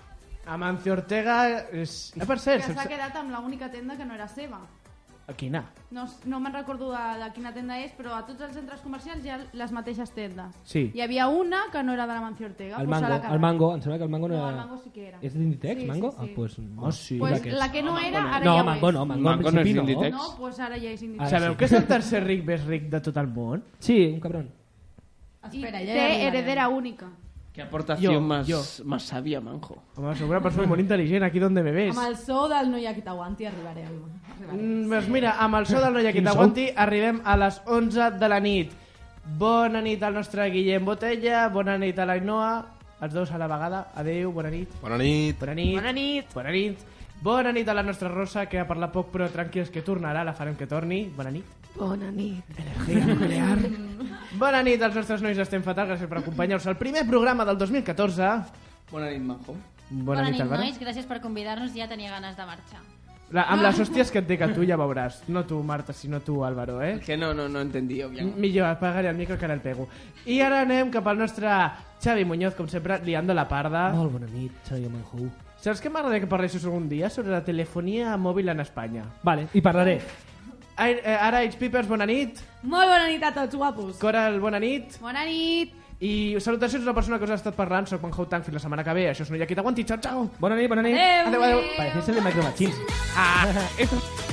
C: Amancio Ortega... És... Eh, per
K: Que
C: cert,
K: s'ha
C: sense...
K: quedat amb l'única tenda que no era seva.
C: Quina?
K: No, s- no me'n recordo de, de quina tenda és, però a tots els centres comercials hi ha les mateixes tendes.
D: Sí.
K: Hi havia una que no era de la Mancio Ortega.
D: Al
K: pues a
D: mango,
K: la cara.
D: al mango, em sembla que el mango no,
K: No,
D: era...
K: el mango sí que era.
D: ¿Es de Inditex,
K: Sí, sí,
D: mango?
K: sí.
D: Ah, pues, no, sí.
K: Pues la que no, era, ara
D: no,
K: ja ho
D: mango
K: és.
D: no, mango, al principi no.
K: No, pues ara ja és Inditex.
C: Sabeu que és
D: *laughs*
C: el tercer ric més ric de tot el món?
D: Sí, un cabrón.
E: Espera, ja hi
K: I té
E: arribarem.
K: heredera única.
F: Qué aportación
C: Yo,
F: más,
C: yo.
F: más sabia, manjo.
C: Home, sóc una persona molt intel·ligent, aquí d'on me ves.
E: Amb el so del no hi ha qui t'aguanti arribarem.
C: Mm, doncs mira, amb el so del Noia que t'aguanti arribem a les 11 de la nit. Bona nit al nostre Guillem Botella, bona nit a l'Ainoa, els dos a la vegada. Adéu, bona nit.
X: Bona nit.
C: Bona nit. Bona nit. Bona nit. Bona nit a la nostra Rosa, que ha parlat poc, però tranquils, que tornarà, la farem que torni. Bona nit.
H: Bona nit.
C: Energia nuclear. Bona nit als nostres nois, estem fatal, gràcies per acompanyar-nos al primer programa del 2014.
F: Bona nit, manjo.
C: Bona,
G: Bona, nit,
C: Álvaro.
G: nois, gràcies per convidar-nos, ja tenia ganes de marxar.
C: La, amb les hòsties que et dic a tu ja veuràs. No tu, Marta, sinó tu, Álvaro, eh?
F: Que no, no, no entendí, obviamente.
C: Millor, apagaré el micro que ara el pego. I ara anem cap al nostre Xavi Muñoz, com sempre, liando la parda.
D: Molt bona nit, Xavi Manjou.
C: Saps que m'agradaria que parlessis algun dia sobre la telefonia mòbil en Espanya?
D: Vale, i parlaré.
C: Ai- eh, Ara, H. Pipers, bona nit.
E: Molt bona nit a tots, guapos.
C: Coral, bona nit.
K: Bona nit.
C: I salutacions a la persona que us ha estat parlant. Soc Manjou Tank, fins la setmana que ve. Això és Noia Qui T'Aguanti. Xau, xau.
D: Bona nit, bona nit.
C: Adéu, adéu.
D: Pareces el de Micro Machines.
C: Ah,